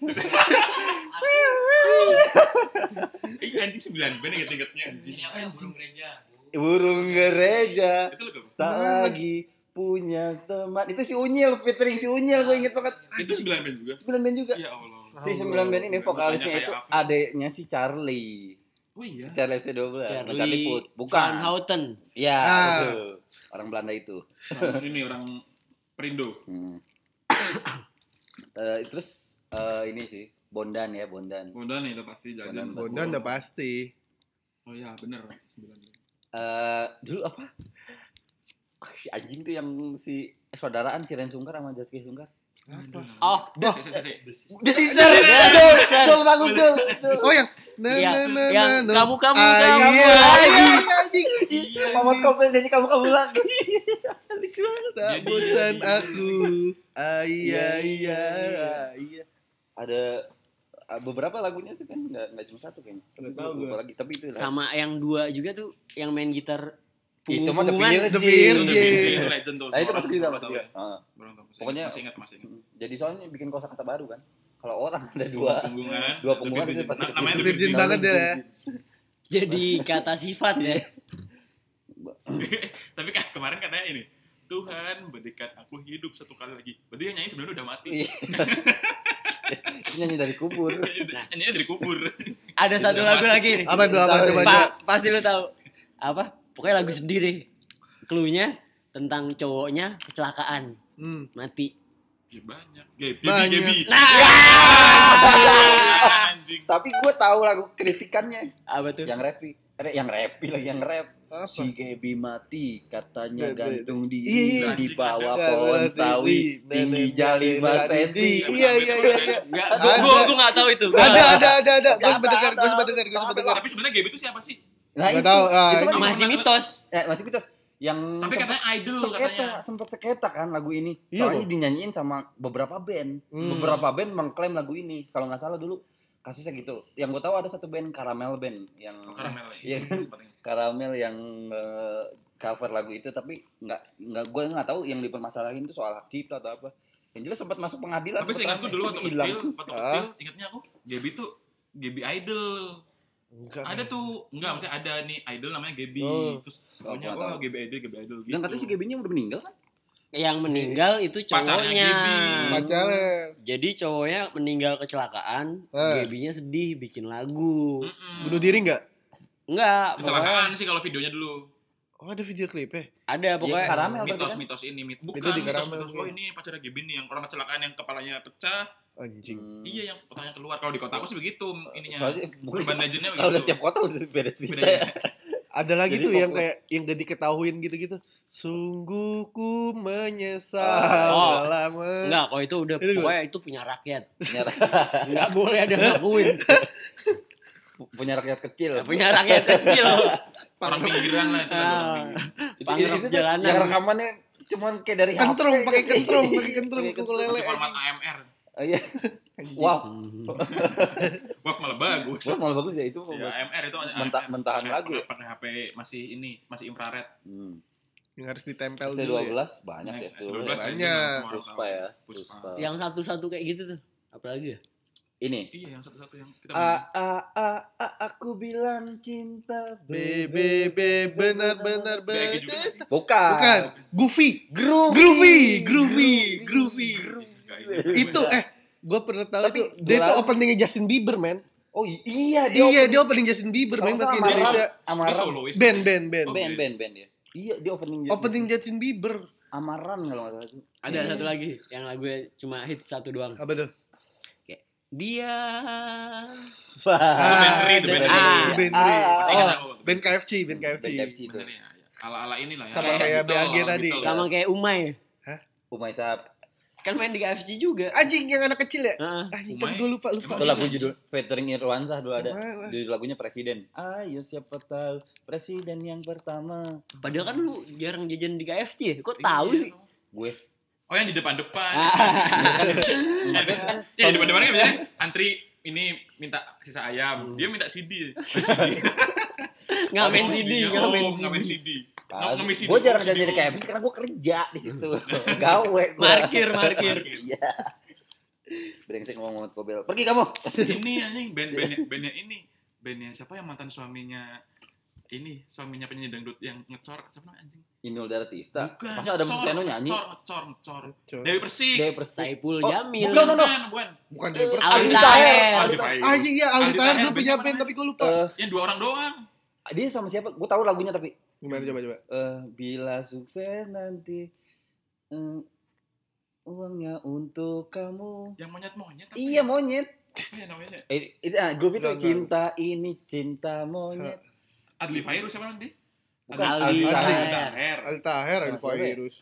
S2: Ih, anjing sembilan band inget-ingetnya anjing.
S5: Ini apa yang burung gereja?
S3: Burung gereja
S2: Itu lagu apa?
S3: tak lagi punya teman. Itu si Unyil featuring si Unyil gue inget banget.
S2: Itu sembilan band juga.
S3: Sembilan band juga.
S2: Ya Allah.
S3: Si sembilan band ini
S2: Makanya
S3: vokalisnya
S2: kayak
S3: itu
S2: apa?
S3: adeknya si Charlie.
S2: Oh iya.
S3: Charlie C12.
S1: Charlie
S3: Charlie Put.
S1: Van
S3: Bukan.
S1: Houten.
S3: Ya,
S4: Ah.
S3: betul. Orang Belanda itu.
S2: Orang Nah, ini orang Perindo.
S3: Hmm. Eh, terus eh, ini sih Bondan ya Bondan.
S2: Bondan itu pasti jajan.
S3: Bondan.
S4: Bondan udah pasti.
S2: Oh iya bener sembilan band.
S3: Eh, dulu apa? Ah, si anjing tuh yang si saudaraan si Ren Sungkar sama Jaski Sungkar.
S4: Apa?
S1: Oh,
S2: Dah. Saya saya
S3: The Sister. Jul, Jul bagus Jul. Jul.
S4: Oh yang na
S1: Iya,
S4: na na
S1: yang
S4: na, na.
S1: kamu- kamu-
S4: Ah,
S1: kamu.
S4: iya, iya, iya, anjing.
S3: Mamat komplain jadi kamu kamu lagi.
S4: Lucu banget. Tak
S2: Jadi-
S4: bosan
S2: jadi-
S4: aku. Ah, Iya iya iya.
S3: Ada eh, beberapa lagunya tuh kan nggak nggak cuma satu kayaknya. Tapi
S4: Nggak tahu
S3: gue lupa lagi tapi itu lah.
S1: sama yang dua juga tuh yang main gitar
S3: Itu mah The Beer,
S1: punggungan.
S4: The
S3: Jil.
S4: Beer,
S2: Itu
S4: Jil.
S2: Jil, legend tuh.
S3: Nah itu
S2: Semua
S3: masuk juga
S2: orang
S3: masuk
S2: tahu
S3: juga.
S2: ya.
S3: Ah.
S2: Orang tahu, masih
S3: Pokoknya-
S2: ingat, masih ingat masih ingat.
S3: Jadi soalnya bikin kosakata baru kan. Kalau orang ada dua.
S2: punggungan.
S3: Dua punggungan itu pasti.
S2: Nah, Namanya The
S4: The Virgin
S2: Virgin.
S4: banget ya.
S1: Jadi kata sifat
S4: Iya.
S1: ya.
S2: Tapi kan kemarin katanya ini Tuhan berikan aku hidup satu kali lagi. Berarti yang nyanyi sebenarnya udah mati.
S3: Iya. Nyanyi dari kubur.
S2: Nyanyinya dari kubur.
S1: Ada satu lagu lagi nih.
S4: Iya. Apa tuh apa
S3: Tahu, Pak.
S4: coba coba.
S1: Pa- pasti lu tahu. Apa? Pokoknya lagu sedih deh. Cluenya tentang cowoknya kecelakaan,
S4: Hmm.
S1: mati.
S2: Ya, banyak. Gaby,
S4: Banyak.
S2: Gaby, Gaby.
S3: Nah.
S2: Ah, Anjing.
S3: Tapi gue tahu lagu kritikannya
S1: Apa tuh?
S4: Ya,
S3: yang rapi, eh, yang rapi lagi yang rap.
S4: Iya. Apa?
S3: Si Gaby mati, katanya
S4: Be- be-
S3: gantung di
S4: Iya, iya.
S3: di bawah
S4: Nggak,
S3: pohon
S4: bener sih. Wih,
S3: sawi tinggi
S4: nenek-
S3: jali
S4: nenek-
S3: 5 cm.
S4: Iya iya iya. iya.
S1: Enggak,
S4: Ada.
S1: gua gua gua enggak tahu itu. Gua
S4: Ada
S1: nggak tahu.
S4: ada ada ada. Gue sempat
S3: Ada,
S4: dengar, gue
S3: ada.
S4: sempat dengar, gue sempat dengar.
S2: Tapi sebenarnya Gaby itu siapa sih?
S3: Nah,
S4: Nggak
S3: itu,
S4: tahu, ah,
S3: itu kan
S2: itu.
S1: Masih mitos.
S3: eh, masih mitos. Yang
S2: Tapi
S3: sempet
S2: katanya idol
S3: seketa,
S2: katanya.
S3: sempet seketa kan lagu ini.
S4: Iya,
S3: Soalnya
S4: kok.
S3: dinyanyiin sama beberapa band.
S4: Hmm.
S3: Beberapa band mengklaim lagu ini. Kalau nggak salah dulu kasusnya gitu. Yang gue tahu ada satu band Karamel Band yang
S2: Oh, karamel.
S3: Iya.
S2: Sepertinya.
S3: Karamel yang eh, cover lagu itu tapi nggak nggak gue nggak tahu yang dipermasalahin itu soal hak cipta atau apa. Yang jelas sempat masuk pengadilan.
S2: Tapi seingatku dulu waktu
S3: Tapi hilang.
S2: kecil, waktu
S4: Ah.
S2: kecil ingatnya aku Gaby tuh Gaby idol.
S4: Enggak.
S2: Ada tuh, enggak maksudnya ada nih idol namanya Gaby.
S4: Oh.
S2: Terus
S3: Oh,
S2: pokoknya
S3: nggak
S2: oh,
S3: tahu.
S2: Gaby idol, Gaby idol gitu.
S3: Dan katanya si Gaby-nya udah meninggal kan?
S1: Yang meninggal itu
S2: Pacarnya
S1: cowoknya.
S2: Gibi.
S4: Pacarnya.
S1: Jadi cowoknya meninggal kecelakaan,
S4: Eh.
S1: Gaby-nya sedih bikin lagu.
S2: Mm-mm.
S4: Bunuh diri nggak?
S1: Enggak, pokoknya
S2: Kecelakaan sih kalau videonya dulu.
S4: Oh ada video klipnya.
S1: ada pokoknya
S3: Iya, Karamel
S2: mitos
S3: tadi kan?
S2: mitos ini mit bukan
S4: Itu di
S2: mitos
S4: Karamel,
S2: mitos
S3: iya.
S2: oh ini pacarnya Gaby nih yang orang kecelakaan yang kepalanya pecah
S4: Anjing.
S3: Hmm.
S2: iya yang kepalanya keluar kalau di kota aku sih begitu ininya gitu.
S3: Soalnya bukan
S2: urban legendnya
S3: kalau udah tiap
S2: begitu
S3: kota udah beda cerita. ya.
S2: Bedanya.
S4: Ada lagi
S3: Jadi
S4: tuh yang
S3: fokus.
S4: kayak yang gak diketahuin gitu-gitu. Sungguh ku menyesal
S1: Oh.
S4: dalam men-
S1: Enggak, kalau itu udah
S4: Itu
S1: pokoknya itu punya rakyat.
S3: Punya
S1: Enggak boleh ada yang ngakuin.
S3: punya rakyat kecil.
S1: punya rakyat kecil.
S2: orang pinggiran lah itu kan
S3: Ah.
S2: orang pinggiran.
S3: Itu-
S1: Pangrok
S3: itu tuh
S1: jalanan.
S3: Yang rekamannya cuman kayak dari
S4: Kentrung,
S3: HP
S4: pakai
S3: sih.
S4: kentrung, pakai kentrung,
S3: Pakai
S4: pukul
S2: masih
S4: lele.
S2: format AMR
S3: Oh, Iya. Wow.
S2: wah malah bagus
S3: Wah, malah bagus ya itu.
S2: ya AMR itu
S3: Mentah- mentahan lagu ya?
S2: ya pakai HP masih ini masih infrared
S3: Hmm.
S4: Yang harus ditempel
S3: SD
S4: dulu. ya.
S3: 12 banyak ya.
S2: Next,
S3: SD 12.
S2: S12 aja,
S4: Banyak.
S2: semua orang
S3: Puspa
S2: tahu.
S3: ya.
S2: Puspa.
S3: Puspa.
S1: yang satu-satu kayak gitu tuh. Apalagi ya?
S3: ini.
S2: iya yang satu-satu yang kita
S3: A, a, a, a, aku bilang cinta
S4: BBB benar-benar
S2: Bagi juga
S4: benar.
S3: Bukan.
S4: Bukan, Goofy.
S3: Groovy.
S4: Groovy, groovy, groovy.
S2: Enggak,
S4: Itu eh gue pernah tahu
S3: Tapi
S4: itu dia
S3: dua-
S4: itu openingnya Justin Bieber men
S3: Oh i- iya dia.
S4: iya dia opening Justin Bieber men pas ke Indonesia
S2: Dia
S3: Amaran.
S2: solois
S4: band band band
S2: Oh.
S3: Ben, Ben, Ben ya. Iya dia opening.
S4: opening Justin Bieber
S3: Amaran kalau nggak salah itu.
S1: Ada satu lagi yang lagunya cuma hit satu doang.
S4: apa tuh
S1: Dia
S4: Ah,
S2: Oh, Ben Ri, The
S1: Ben
S2: Ben Ri.
S1: Ri. Ah.
S4: The Ben Ri.
S2: Masih
S4: Oh,
S2: ingat aku.
S4: band KFC band KFC
S3: Ben KFC itu.
S2: Bener ya, ya. ala-ala inilah ya.
S4: Sama
S2: Ala-ala
S4: kayak
S2: Beatles,
S4: BAG
S2: ala-ala
S4: tadi.
S2: Beatles.
S1: sama kayak Umay.
S3: Umay Sahab.
S1: Kan main di KFC juga.
S4: anjing yang anak kecil ya
S1: Heeh.
S4: anjing
S2: Umay.
S4: kan gue lupa lupa
S3: Itu lagu judul featuring Irwansyah dulu ada.
S4: Wah, wah.
S3: Judul lagunya Presiden. Ayo siapa tahu presiden yang pertama.
S1: Padahal kan lu jarang jajan di KFC ya. Kok
S2: Iya,
S1: tahu
S2: iya,
S1: sih?
S2: tahu.
S3: Gue.
S2: Oh yang di depan-depan.
S3: Ah. Maksudnya
S2: Iya,
S3: kan
S2: Iya, di depan-depan kan biasanya antri ini minta sisa ayam, dia minta CD.
S1: Ngamen
S2: Oh,
S1: CD,
S2: CD-nya. Oh,
S1: ngamen
S2: ngamen CD.
S1: CD.
S2: Nge- ngemis CD,
S3: Gue jarang
S2: ngemis
S3: jadi
S2: CD.
S3: KFC karena gue kerja di situ. Gawe gue.
S1: Markir, markir.
S3: Iya. Brengsek ngomong kobel. Pergi kamu.
S2: Ini
S3: Iya.
S2: anjing band-bandnya bandnya ini. Bandnya siapa yang mantan suaminya ini suaminya penyanyi dangdut yang ngecor siapa namanya anjing?
S3: Inul Daratista.
S2: Bukan.
S3: Masa ada
S2: ngecor,
S3: Seno nyanyi?
S2: Ngecor, ngecor, ngecor.
S4: Coy.
S2: Dewi Persik.
S3: Dewi Persik.
S1: Saipul
S3: Oh,
S1: Jamil.
S3: bukan, no, no.
S2: Bukan, bukan.
S4: bukan dari
S3: Eh,
S4: Persik
S1: Aldi
S3: Aldi
S1: Taher.
S3: Taher.
S2: Aldi Taher.
S4: anjing ya Aldi
S2: Aldi
S4: Taher
S2: Taher,
S4: gue punya
S2: band
S4: band
S2: mana?
S4: tapi gue lupa
S3: Eh,
S2: Yang dua orang doang.
S3: dia sama siapa? Gue tahu lagunya tapi
S4: gimana coba coba
S3: eh bila sukses nanti eh, uangnya untuk kamu.
S2: Yang monyet-monyet. apa
S3: Iya
S2: ya?
S3: monyet.
S2: Apa ya namanya?
S3: Eh, itu ah, grup itu
S4: Enggak, enggak.
S3: cinta ini cinta monyet.
S2: Adli Fairuz siapa nanti?
S3: Bukan
S1: Aldi
S3: Aldi
S4: Taher.
S3: Taher.
S2: Daher.
S4: Aldi Taher ada
S3: Sama siapa ya?
S4: virus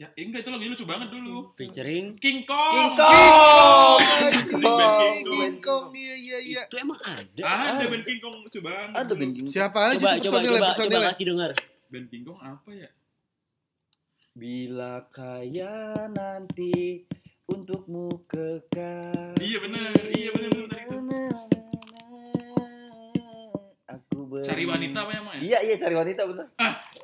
S2: Ya, enggak itu lagi lucu banget dulu.
S1: Featuring
S2: King Kong. Ah,
S3: King Kong.
S2: King Kong.
S4: King Kong iya iya iya
S1: itu emang ada.
S2: Ah, ada band King Kong lucu banget.
S3: Ada band King Kong.
S4: siapa aja tuh
S1: Coba coba
S4: personilnya
S1: coba coba
S4: personilnya
S1: kasih dengar.
S2: Band King Kong apa ya?
S3: Bila kaya nanti untukmu kekasih.
S2: Iya, bener. Iya, bener, bener, bener, itu.
S3: Aku ber...
S2: Cari wanita apa yang main?
S3: Iya iya cari wanita bener.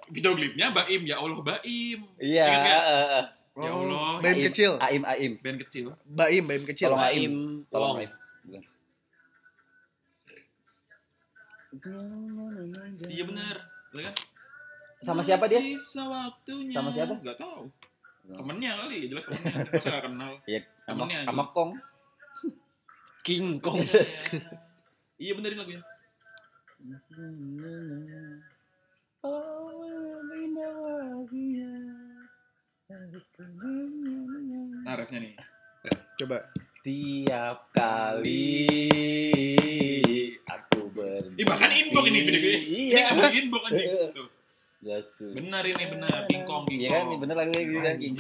S2: Video klipnya Baim, ya Allah Baim.
S3: Iya.
S2: Ingat nggak?
S3: eh, eh.
S2: Ya Allah.
S4: Oh, band
S3: Aim,
S4: kecil
S3: Aim Aim.
S2: Band kecil.
S4: Baim Baim kecil
S3: Tolong Aim.
S1: Aim,
S3: Tolong
S1: Wong.
S3: Aim. Bukan.
S2: Iya bener. Bener kan?
S3: Sama siapa dia?
S2: Sisa waktunya.
S3: Sama siapa?
S2: Gak tau. Temennya kali, ya jelas temennya. Masa gak kenal?
S3: Iya, sama,
S2: Temennya aja.
S3: sama Kong.
S1: King
S3: Oh,
S1: Kong.
S3: iya.
S2: Iya benerin lagunya. Nah, refnya nih.
S4: coba
S3: Tiap kali aku
S2: Iya. Ih, bahkan inbox ini video gue. Ini
S3: Iya.
S2: ngomong inbox anjing. Tuh.
S3: Gasu.
S2: Benar ini
S4: Nah,
S2: benar pingkong
S3: Iya kan, ini
S2: pingkong.
S3: bener lagi gitu kan.
S2: Anjing.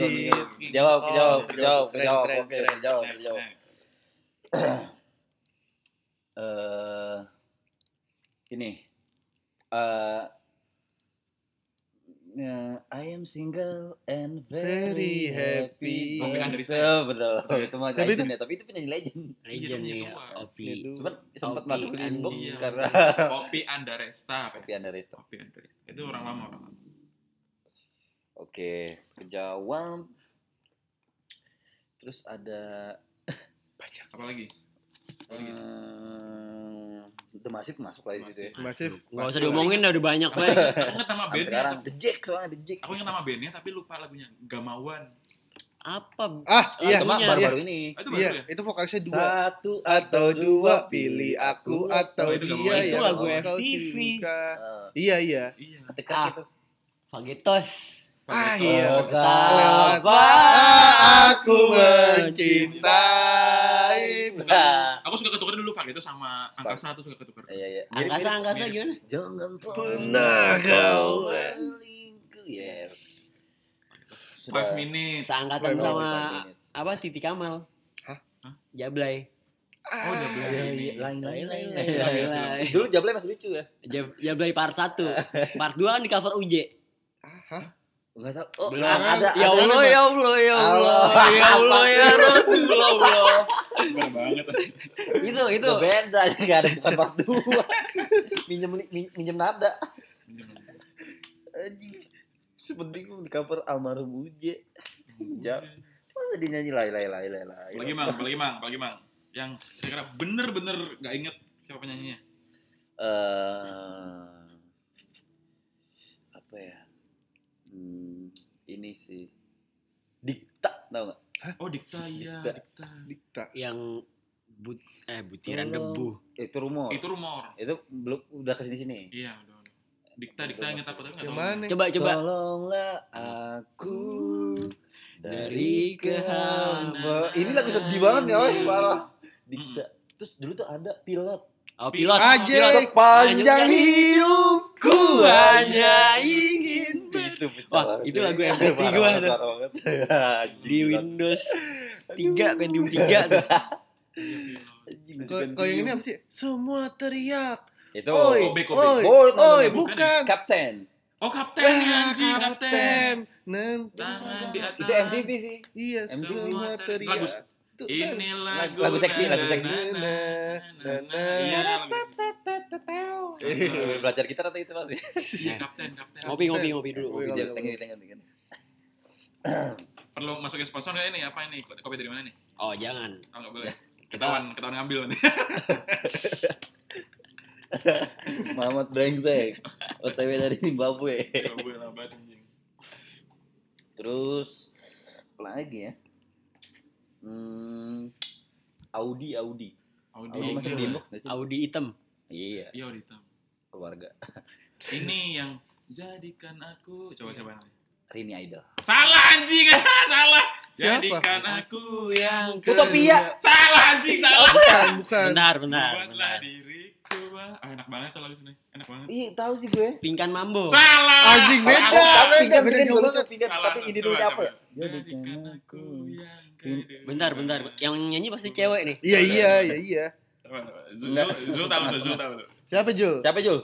S3: Jawab, jawab, jawab, jawab,
S4: Keren,
S3: jawab,
S4: keren,
S3: oke,
S4: keren.
S3: jawab,
S2: Next,
S3: jawab.
S2: next.
S3: Eh, ini. Eh, eh, I am single and very,
S4: Very
S3: happy.
S4: happy.
S2: Copycat dari
S3: Itu betul. Itu mah
S4: Siapa itu?
S3: legend ya, tapi itu penyanyi legend.
S2: Iya,
S1: Legend nih,
S2: itu mah.
S1: Opi.
S3: Cuman sempat
S1: Copy
S3: masuk di
S1: and-
S3: inbox
S2: Iya,
S3: karena
S2: Kopi Andaresta. apa ya?
S3: Tapi Anda resto.
S2: Kopi Andaresta. Itu orang lama orang lama.
S3: Oke, kejawab. Terus ada
S2: Apalagi? Apalagi? gitu.
S3: eh The Massive masuk lagi situ ya.
S4: Masif.
S1: Gak usah diomongin udah banyak banget.
S2: Aku ingat nama
S3: Sampai
S2: bandnya.
S3: sekarang
S2: tapi-
S3: The Jack soalnya The Jack.
S2: Aku ingat nama bandnya tapi lupa lagunya. Gamawan.
S1: Apa?
S4: Ah,
S1: Ah,
S4: iya.
S3: Itu mah
S1: Iya.
S3: baru-baru ini.
S2: Ah, Itu baru
S4: Iya,
S2: ya?
S4: itu vokalisnya dua.
S3: Satu
S4: Atau dua, pilih aku atau
S2: Oh, itu
S4: dia
S2: gak mau.
S4: ya.
S1: Itu lagu
S4: kau
S1: FTV.
S4: suka.
S3: Eh,
S4: Iya, iya.
S2: Iya.
S3: ketika
S1: Ah.
S3: itu.
S1: Fagetos.
S4: Ah,
S2: Pakai-
S4: iya.
S3: Oh,
S1: Betapa
S4: Ah, aku mencintaimu.
S3: Nah,
S2: Aku suka ketuker dulu Fak itu sama angka satu suka ketuker.
S3: iya iya. Mirip-
S1: Angkasa,
S3: mirip-
S1: angkasa
S3: mirip.
S1: gimana?
S3: Jangan
S4: Pernah kau
S3: berlingkuh. Ya.
S2: Five minutes.
S1: Seangkatan
S4: Five
S1: sama apa Titi Kamal.
S4: Hah?
S2: Hah?
S1: Jablay.
S2: Oh
S3: Ya,
S4: Iya,
S2: jabla
S3: ya,
S2: ini.
S3: lain lain lain lain.
S1: Lain, lain, lain.
S3: Dulu Jablay masih lucu ya.
S1: Jab- Jablay part 1. Part 2 kan di cover UJ.
S4: Ah, hah?
S3: Enggak tahu. Oh,
S4: Belum.
S3: ada ada-
S1: Ya Allah,
S4: Bang.
S1: ya Allah, ya Allah,
S3: Allah.
S1: ya Allah, ya Rasulullah.
S2: Bener
S4: iya.
S2: banget.
S1: Itu, itu.
S3: itu beda enggak ada bukan part 2. minjem li- min- minjem nada. Anjing. Sempet bingung di cover almarhum Uje. Jap. Masa dia nyanyi lay lay lay lay lay.
S2: Apalagi mang, apalagi mang, apalagi mang. Yang kira-kira bener-bener gak inget siapa penyanyinya.
S3: eh apa ya? Hmm, ini sih. Dikta tau gak?
S2: Oh Dikta iya.
S3: Dikta.
S2: Dikta.
S4: Dikta.
S1: Yang but eh butiran
S3: Tolong.
S1: debu.
S3: Itu rumor. Itu,
S2: Itu rumor.
S3: belum udah kesini sini.
S2: Iya udah. udah. Dikta, Dikta inget aku tapi gak
S4: Yang
S2: tau.
S4: mana?
S1: Coba, coba.
S3: Tolonglah aku
S1: Dari kehancuran.
S3: Ini lagu sedih banget ya, weh, parah. Dikta. Terus dulu tuh ada pilot.
S1: Oh, pilot.
S4: Aja.
S1: Pilot.
S3: Sepanjang hidupku hanya
S1: ingin ber-
S3: itu pecah
S1: Wah,
S3: banget,
S1: itu
S3: ya.
S1: lagu MVP
S3: Parah
S1: gua
S3: banget,
S1: tuh.
S3: parah banget. Anjing,
S1: di
S3: gila.
S1: Windows 3 Pentium 3 tuh.
S3: Anjing,
S4: Kau
S3: lucu
S4: kau yang ini
S3: banget.
S4: apa iya. sih? Semua teriak.
S3: Itu.
S4: Oi,
S2: Kobe, Kobe.
S4: oi,
S3: Oh, itu
S4: oi,
S3: bukan.
S4: bukan.
S3: Kapten.
S2: Oh kapten
S4: Ah,
S2: ya anjing, kapten.
S4: kapten. Nanti
S2: Tangan di atas.
S3: Itu MVP sih.
S4: Iya,
S3: MV.
S4: semua teriak.
S2: Lagu
S4: Tuh, kan?
S2: ini lagu Nah,
S3: Lagu seksi, lagu seksi.
S2: na- na- na- na- na. Iya, lagu seksi.
S3: Eh, Belajar gitar atau itu pasti.
S2: Iya, kapten, kapten.
S1: Ngopi ngopi ngopi dulu.
S3: Jangan,
S4: Ngopi. iya,
S3: jangan,
S4: iya.
S3: jangan, jangan.
S2: Perlu masukin sponsor nggak ini? Apa ini? Kopi dari mana nih?
S1: Oh, jangan.
S2: Oh nggak boleh. Ketahuan, ketahuan ngambil nanti.
S3: Mamat brengsek. OTW dari Zimbabwe.
S2: Gue lambat anjing.
S3: Terus apa lagi ya? Hmm, Audi Audi.
S2: Audio.
S3: Audi masuk di inbox nggak sih?
S1: Audi hitam.
S3: Iya,
S2: Iya, audio hitam.
S3: keluarga.
S2: Ini yang jadikan aku coba coba yang lain.
S3: Rini Idol.
S2: Salah anjing, salah.
S4: Siapa?
S2: Jadikan aku yang
S4: Kedua.
S3: Utopia.
S2: salah anjing, salah.
S4: Bukan, bukan.
S1: Benar, Nah, benar.
S2: Buatlah diriku. ah. Ah, enak banget tuh lagu sebenarnya. Enak banget.
S3: Iya, tahu sih gue.
S1: Pingkan Mambo.
S2: Salah.
S4: Anjing beda, beda, beda jauh banget.
S3: pindah,
S2: Salah,
S3: tapi ini
S2: coba,
S3: dulu
S2: coba.
S3: apa? ya?
S2: Jadikan aku yang kedua.
S1: Bentar, bentar. Yang nyanyi pasti cewek nih.
S4: Iya, iya, iya, iya.
S2: Coba, coba. Zul Zul- Zul tahu tuh, Zul tahu tuh.
S4: Siapa Jul?
S3: Siapa Jul?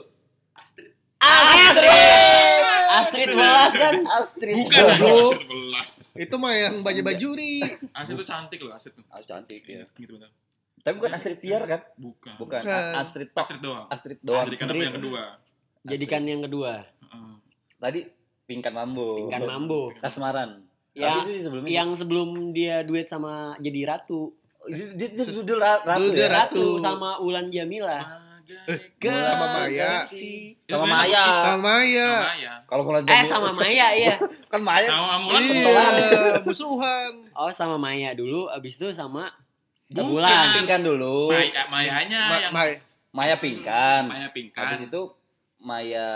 S1: Astrid Welas kan.
S3: Astrid.
S2: Bukan
S4: Zul.
S2: anjing,
S4: Zul.
S2: Astrid belas.
S4: Itu mah yang baju-baju nih.
S2: Astrid tuh cantik loh, Astrid tuh.
S3: Ah, cantik ya.
S2: Gitu bentar.
S3: Tapi bukan Astrid Tiar kan?
S2: Bukan.
S3: Bukan,
S4: Bukan.
S3: A- Astrid Tok.
S2: Astrid doang.
S3: Astrid doang.
S2: Astrid kan yang kedua.
S1: Jadikan yang kedua.
S2: Heeh.
S3: Tadi Pingkan Mambo.
S1: Pingkan Mambo.
S3: Kasmaran.
S1: Ya,
S3: Tapi itu sebelumnya.
S1: yang sebelum dia duet sama jadi ratu.
S3: Dia- dia dia judul ra- ratu
S4: Judul
S3: ya?
S4: Ratu.
S1: Ratu sama Ulan
S3: Nah.
S1: Jamila.
S3: Eh.
S4: Sama Maya.
S1: Kekasih.
S2: Ya,
S3: Sama
S2: sebenarnya
S3: Maya.
S4: Sama
S3: Iya.
S2: Sama
S4: Maya.
S2: Maya.
S3: Kalau Mulan
S1: Eh
S3: Jamil-
S1: sama Maya iya.
S3: kan Maya.
S2: Sama Mulan kebetulan.
S4: Iya, musuhan.
S1: Oh sama Maya dulu abis itu sama
S2: Bukan.
S1: Bulan.
S3: Pingkan dulu.
S2: Maya, Mayanya
S4: Ma-
S2: Nah, yang
S4: Mai.
S3: Maya Pingkan.
S2: Maya Pingkan.
S3: Habis itu Maya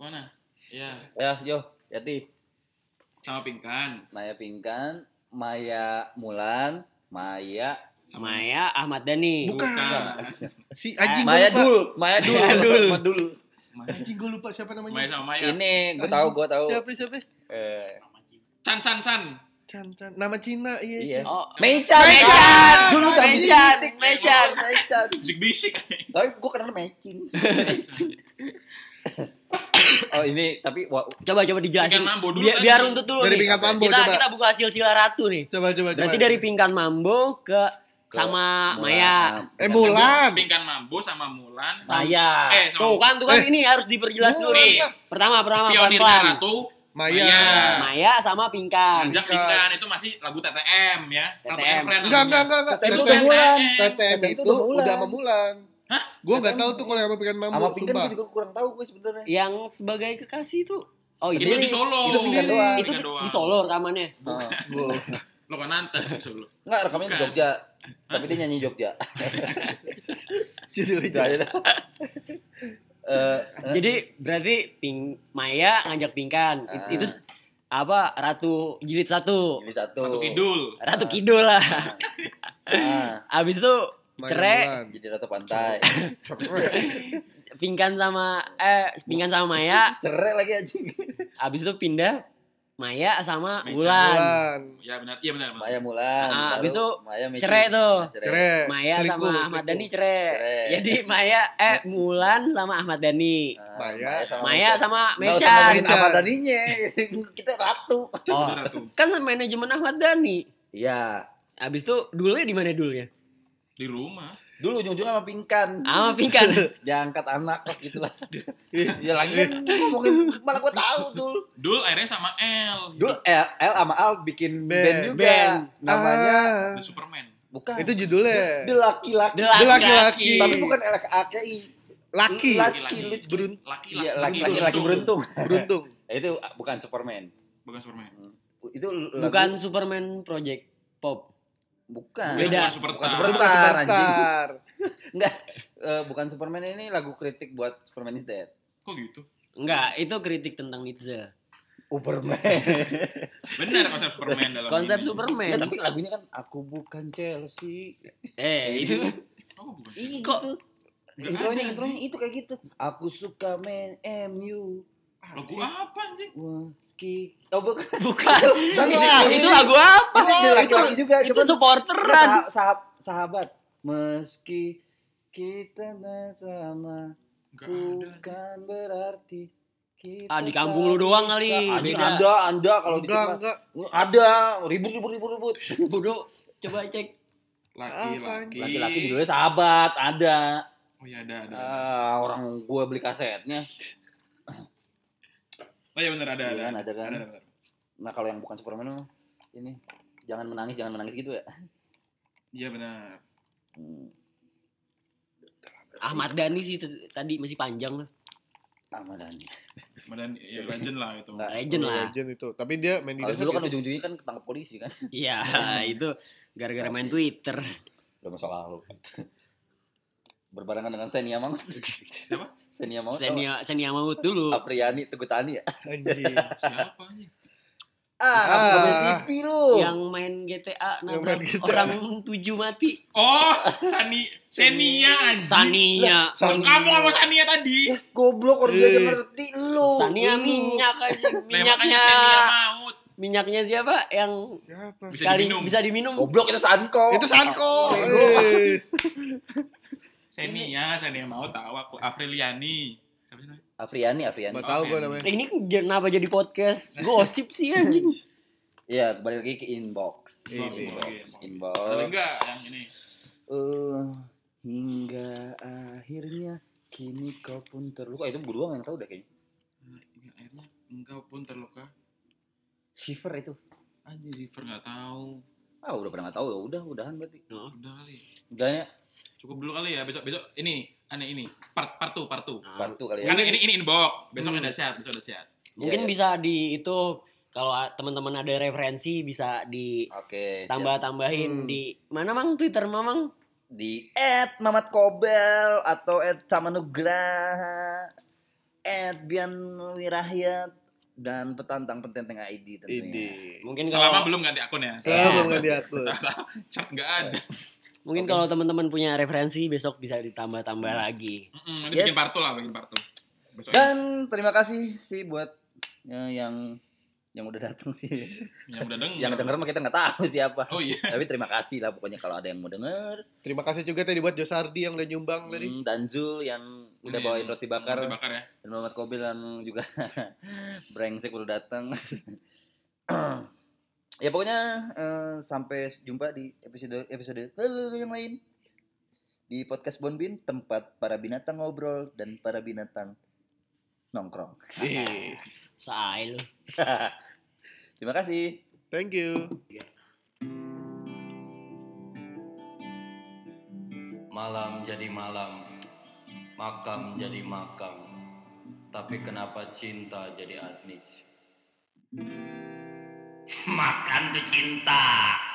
S2: mana? Iya,
S3: ya yo Yati
S2: sama Pingkan.
S3: Maya Pingkan, Maya Mulan, Maya
S1: Maya Ahmad Dhani.
S4: Bukan. Si anjing gue
S3: Maya
S4: lupa.
S3: Dul, Maya Dul,
S1: Maya Dul.
S3: Maya Dul.
S2: Maya,
S4: Anjing gue lupa siapa namanya.
S2: Maya sama Maya.
S3: Ini gue tahu, gue tahu.
S4: Siapa siapa?
S3: Eh,
S2: Chan Chan Chan.
S4: Chan Chan. Nama Cina iya.
S3: Iya.
S4: Chan.
S1: Oh,
S3: Meican,
S1: Meican.
S3: Dulu tapi
S1: Meican,
S3: bisik.
S1: Meican.
S3: Meican.
S2: Bisik bisik.
S3: Tapi gue kenal Mecin. oh ini tapi wah,
S1: Coba coba dijelasin.
S2: Ikan mambo dulu kan.
S1: Biar,
S2: tadi.
S1: biar untuk dulu
S4: Dari
S1: nih.
S4: Pingkat Mambo
S1: kita
S4: coba.
S1: kita buka silsilah ratu nih.
S4: Coba coba coba.
S1: Berarti dari pingkan mambo ke, sama Ah, Maya.
S4: Eh Mulan.
S2: Pingkan Mambo sama Mulan. sama
S1: Saya.
S2: Eh, sama-
S1: tuh kan tuh kan
S4: Eh.
S1: ini harus diperjelas dulu
S4: Mulan
S1: nih.
S4: lah.
S1: Pertama pertama
S2: Pionirnya
S1: pelan-pelan.
S2: Ratu.
S4: Maya.
S2: Maya.
S1: Maya sama pingkan.
S2: Ajak Pingkan itu masih lagu TTM ya. Ratu
S1: TTM.
S2: Everett
S4: Enggak enggak
S2: namanya.
S4: enggak enggak.
S3: TTM
S2: Itu
S3: udah
S4: TTM,
S3: Mulan. TTM
S4: TTM
S3: itu
S4: itu
S3: udah Mulan.
S4: udah memulan.
S2: Hah?
S4: Gue nggak
S3: TTM.
S4: tahu tuh kalau yang mau bikin mambo.
S3: sama Pinkan
S4: sumpah.
S3: gue juga kurang tahu gue sebenarnya.
S1: Yang sebagai kekasih tuh. Oh
S2: Itu
S1: itu
S2: di Solo.
S3: Itu Pingkan
S4: Sendiri.
S3: doang.
S1: itu
S2: Pingkan doang.
S1: di Solo rekamannya.
S3: Heeh.
S4: Gua-
S2: Lo kan nanti di Solo.
S3: Enggak rekamnya di
S2: Bukan.
S3: Jogja. Tapi dia nyanyi Jogja.
S4: Jadi
S3: Itu aja dah. Eh, eh,
S1: Jadi berarti Ping Maya ngajak pingkan. I-
S3: Ah.
S1: Itu s- apa Ratu jilid satu.
S3: eh, ini satu.
S2: Ratu Kidul.
S1: Ratu Kidul lah.
S3: Ah,
S1: Abis itu
S4: Maya
S1: Cerek.
S4: Mulan.
S3: jadi Ratu Pantai.
S1: pingkan sama eh pingkan sama Maya.
S3: Cerek lagi anjing.
S1: Abis itu pindah Maya sama
S2: Meja.
S1: Wulan.
S4: Mulan.
S2: Ya benar. Iya benar. benar.
S3: Maya Mulan.
S1: Ah,
S3: baru
S1: habis itu
S3: Maya Mecin.
S1: Cerek tuh.
S3: Ah, Cerek.
S4: Cerek.
S1: Maya
S4: Eh, Selingkuh,
S1: sama Ahmad Dhani
S4: selingkuh.
S1: cerai.
S3: Cerai.
S1: Jadi Maya eh Mulan sama Ahmad Dhani.
S3: Ah,
S4: Maya.
S1: Maya
S3: Mecin.
S1: sama
S3: Nggak usah ngomongin
S1: Mecan.
S4: Mecan.
S3: apa tadinya. Kita ratu.
S1: Oh.
S2: Benar, Ratu.
S1: Kan manajemen Ahmad Dhani.
S3: Iya.
S1: Abis itu dulnya di mana dulnya?
S2: Di rumah.
S3: Dulu ujung-ujungnya sama Pingkan.
S1: Sama Pingkan.
S3: Diangkat anak lah gitu lah. ya lagi kan ngomongin malah gua tahu tuh.
S2: Dul akhirnya sama Gitu. L.
S3: Dulu L, L sama Al bikin band,
S4: Band.
S3: juga.
S1: Band.
S3: Namanya
S4: Ah.
S2: The Superman.
S3: bukan.
S4: Itu judulnya.
S3: The Laki-Laki.
S1: The
S4: Ah. Dia
S1: Laki-laki.
S4: laki-laki.
S3: Tapi bukan LKI.
S4: Laki.
S3: Laki.
S4: Berun-
S2: Laki
S3: Iya, laki-laki
S2: laki
S3: laki beruntung.
S4: Beruntung.
S3: itu ah, bukan Superman.
S2: Bukan Superman.
S3: Itu lagu-
S1: Bukan Superman Project Pop.
S3: bukan.
S1: Beda.
S2: Bukan Superman.
S3: Bukan
S4: Beruntung
S3: Superstar,
S4: Superstar.
S3: Enggak. Eh, bukan Superman ini lagu kritik buat Superman is Dead.
S2: Kok gitu?
S1: Enggak, itu kritik tentang Nietzsche.
S3: Superman.
S2: Benar konsep Superman dalam
S1: Konsep
S2: ini.
S1: Superman.
S3: tapi lagunya kan aku bukan Chelsea.
S1: Eh, itu
S2: Oh, bukan.
S3: Iya
S1: Kok-
S3: gitu.
S2: Nggak
S3: Intronya
S2: ada,
S3: intronya
S2: anjing.
S3: itu kayak gitu. Aku suka main MU.
S2: Lagu apa anjing?
S3: Meski oh bukan.
S1: bukan.
S3: Tapi
S1: itu lagu
S3: Iya,
S1: apa?
S3: Itu dia lagi
S1: Itu,
S3: juga.
S1: itu
S3: cuman-
S1: supporteran.
S3: Sah- sah- sahabat. Meski kita tak sama
S2: Enggak ada.
S3: bukan berarti kita
S1: Ah, di kampung lu
S3: tak
S1: doang
S3: bisa.
S1: kali.
S3: Ah, di-
S1: Beda.
S3: Ada, ada kalau gitu di
S4: Enggak,
S3: tempat-
S4: enggak.
S3: ada ribut ribut ribut ribut.
S1: Bodoh. Coba cek.
S2: Laki-laki.
S3: Laki-laki judulnya sahabat, ada.
S2: Oh iya ada ada. ada.
S3: Ah, orang gue beli kasetnya.
S2: Oh iya benar ada
S3: Iya
S2: ada.
S3: kan, ada kan.
S2: Ada benar.
S3: Nah kalau yang bukan Superman mah, ini jangan menangis jangan menangis gitu ya.
S2: Iya benar.
S3: Hmm,
S1: Ahmad Dhani sih t- tadi masih panjang lah.
S3: sama Dani.
S2: Kemudian ya legend lah itu.
S3: Enggak.
S1: Legend lah.
S4: Legend itu. Tapi dia main di
S3: Kalau
S4: dasar.
S3: dulu kan
S4: gitu.
S3: ujung-ujungnya kan ketangkep polisi kan.
S1: Iya, itu gara-gara main Twitter.
S3: Udah masa lalu. Berbarengan dengan Senia Maut.
S2: Siapa?
S3: Senia Maut. Senia.
S1: Senia Senia Maut dulu.
S3: Apriani Teguh Tani ya.
S4: Anjing.
S2: Siapa anjing?
S3: Ah,
S4: Ah.
S3: ah. TV lu.
S1: Yang main GTA
S4: Yang
S1: nabrak
S4: main GTA.
S1: orang tujuh mati.
S2: Oh, Sani Senia anjing.
S1: Sania.
S2: Kamu ngomong sama Sania tadi.
S3: Goblok orang dia aja
S2: Iya.
S4: Eh.
S3: ngerti lu.
S1: Sania
S3: Lu.
S1: minyak aja.
S2: Lah, makanya
S1: Minyaknya
S2: Sania maut.
S1: minyaknya siapa yang
S4: Siapa?
S2: Bisa
S1: sekali
S2: diminum.
S1: bisa diminum.
S3: Goblok itu Sanko.
S4: Itu Oh. Sanko.
S3: Bego.
S4: Eh.
S2: Senia, Sania maut tahu aku Afriliani. Siapa sih namanya?
S3: Ah, Apriani, Apriani.
S4: Nggak tahu gue namanya.
S1: Ini kenapa jadi podcast? Gosip sih anjing.
S3: Iya, balik lagi ke inbox.
S2: Iya,
S4: Inbox,
S3: Inbox,
S2: inbox.
S3: inbox.
S2: Tapi enggak yang ini.
S3: Eh, hingga akhirnya kini kau pun terluka. Eh, itu gue doang yang tahu deh kayaknya.
S2: Nah, ini Akhirnya engkau pun terluka.
S3: Shiver itu.
S2: Anjing River nggak tahu.
S3: Ah, udah pernah nggak tahu ya. Udah, udahan berarti.
S2: Udah kali.
S3: Udah ya,
S2: Cukup dulu kali ya besok besok ini aneh ini part part 2 part 2.
S3: kartu kali ya.
S2: Karena ini ini inbox. Besok
S4: Hmm.
S2: ada sehat, besok ada sehat.
S3: Iya,
S1: Mungkin
S3: iya.
S1: bisa di itu kalau a- teman-teman ada referensi bisa
S3: Oke. siap.
S4: Hmm.
S1: ditambah-tambahin di mana mang Twitter mamang?
S3: di at Mamat Kobel atau at Samanugraha at Bian Wirahiyat dan petantang pententeng ID tentunya.
S4: Ini.
S1: Mungkin
S2: Selama
S1: kalau
S2: belum ganti akun ya.
S4: Saya belum nggak diatur.
S3: Iya.
S2: Chat nggak ada.
S1: Mungkin
S3: Oke.
S1: kalau teman-teman punya referensi besok bisa ditambah-tambah lagi.
S2: Mm-mm, nanti
S3: Yes.
S2: bikin partu lah, bikin partu. Besok ya,
S3: Dan terima kasih sih buat eh, yang yang udah datang sih.
S2: yang udah denger.
S3: yang denger mah kita nggak tahu siapa.
S2: Oh iya.
S3: Tapi terima kasih lah pokoknya kalau ada yang mau denger.
S4: Terima kasih juga tadi buat Josardi yang udah nyumbang tadi.
S3: Hmm, Danjul yang udah
S2: Ini
S3: bawain
S2: yang-
S3: roti bakar
S2: Roti bakar ya.
S3: dan Muhammad Kobil yang juga brengsek udah datang. ya pokoknya eh, sampai jumpa di episode episode yang lain di podcast Bonbin tempat para binatang ngobrol dan para binatang nongkrong.
S1: Sail.
S3: terima kasih.
S4: Thank you.
S6: Malam jadi malam, makam jadi makam. Tapi kenapa cinta jadi etnis? Makan tuh cinta.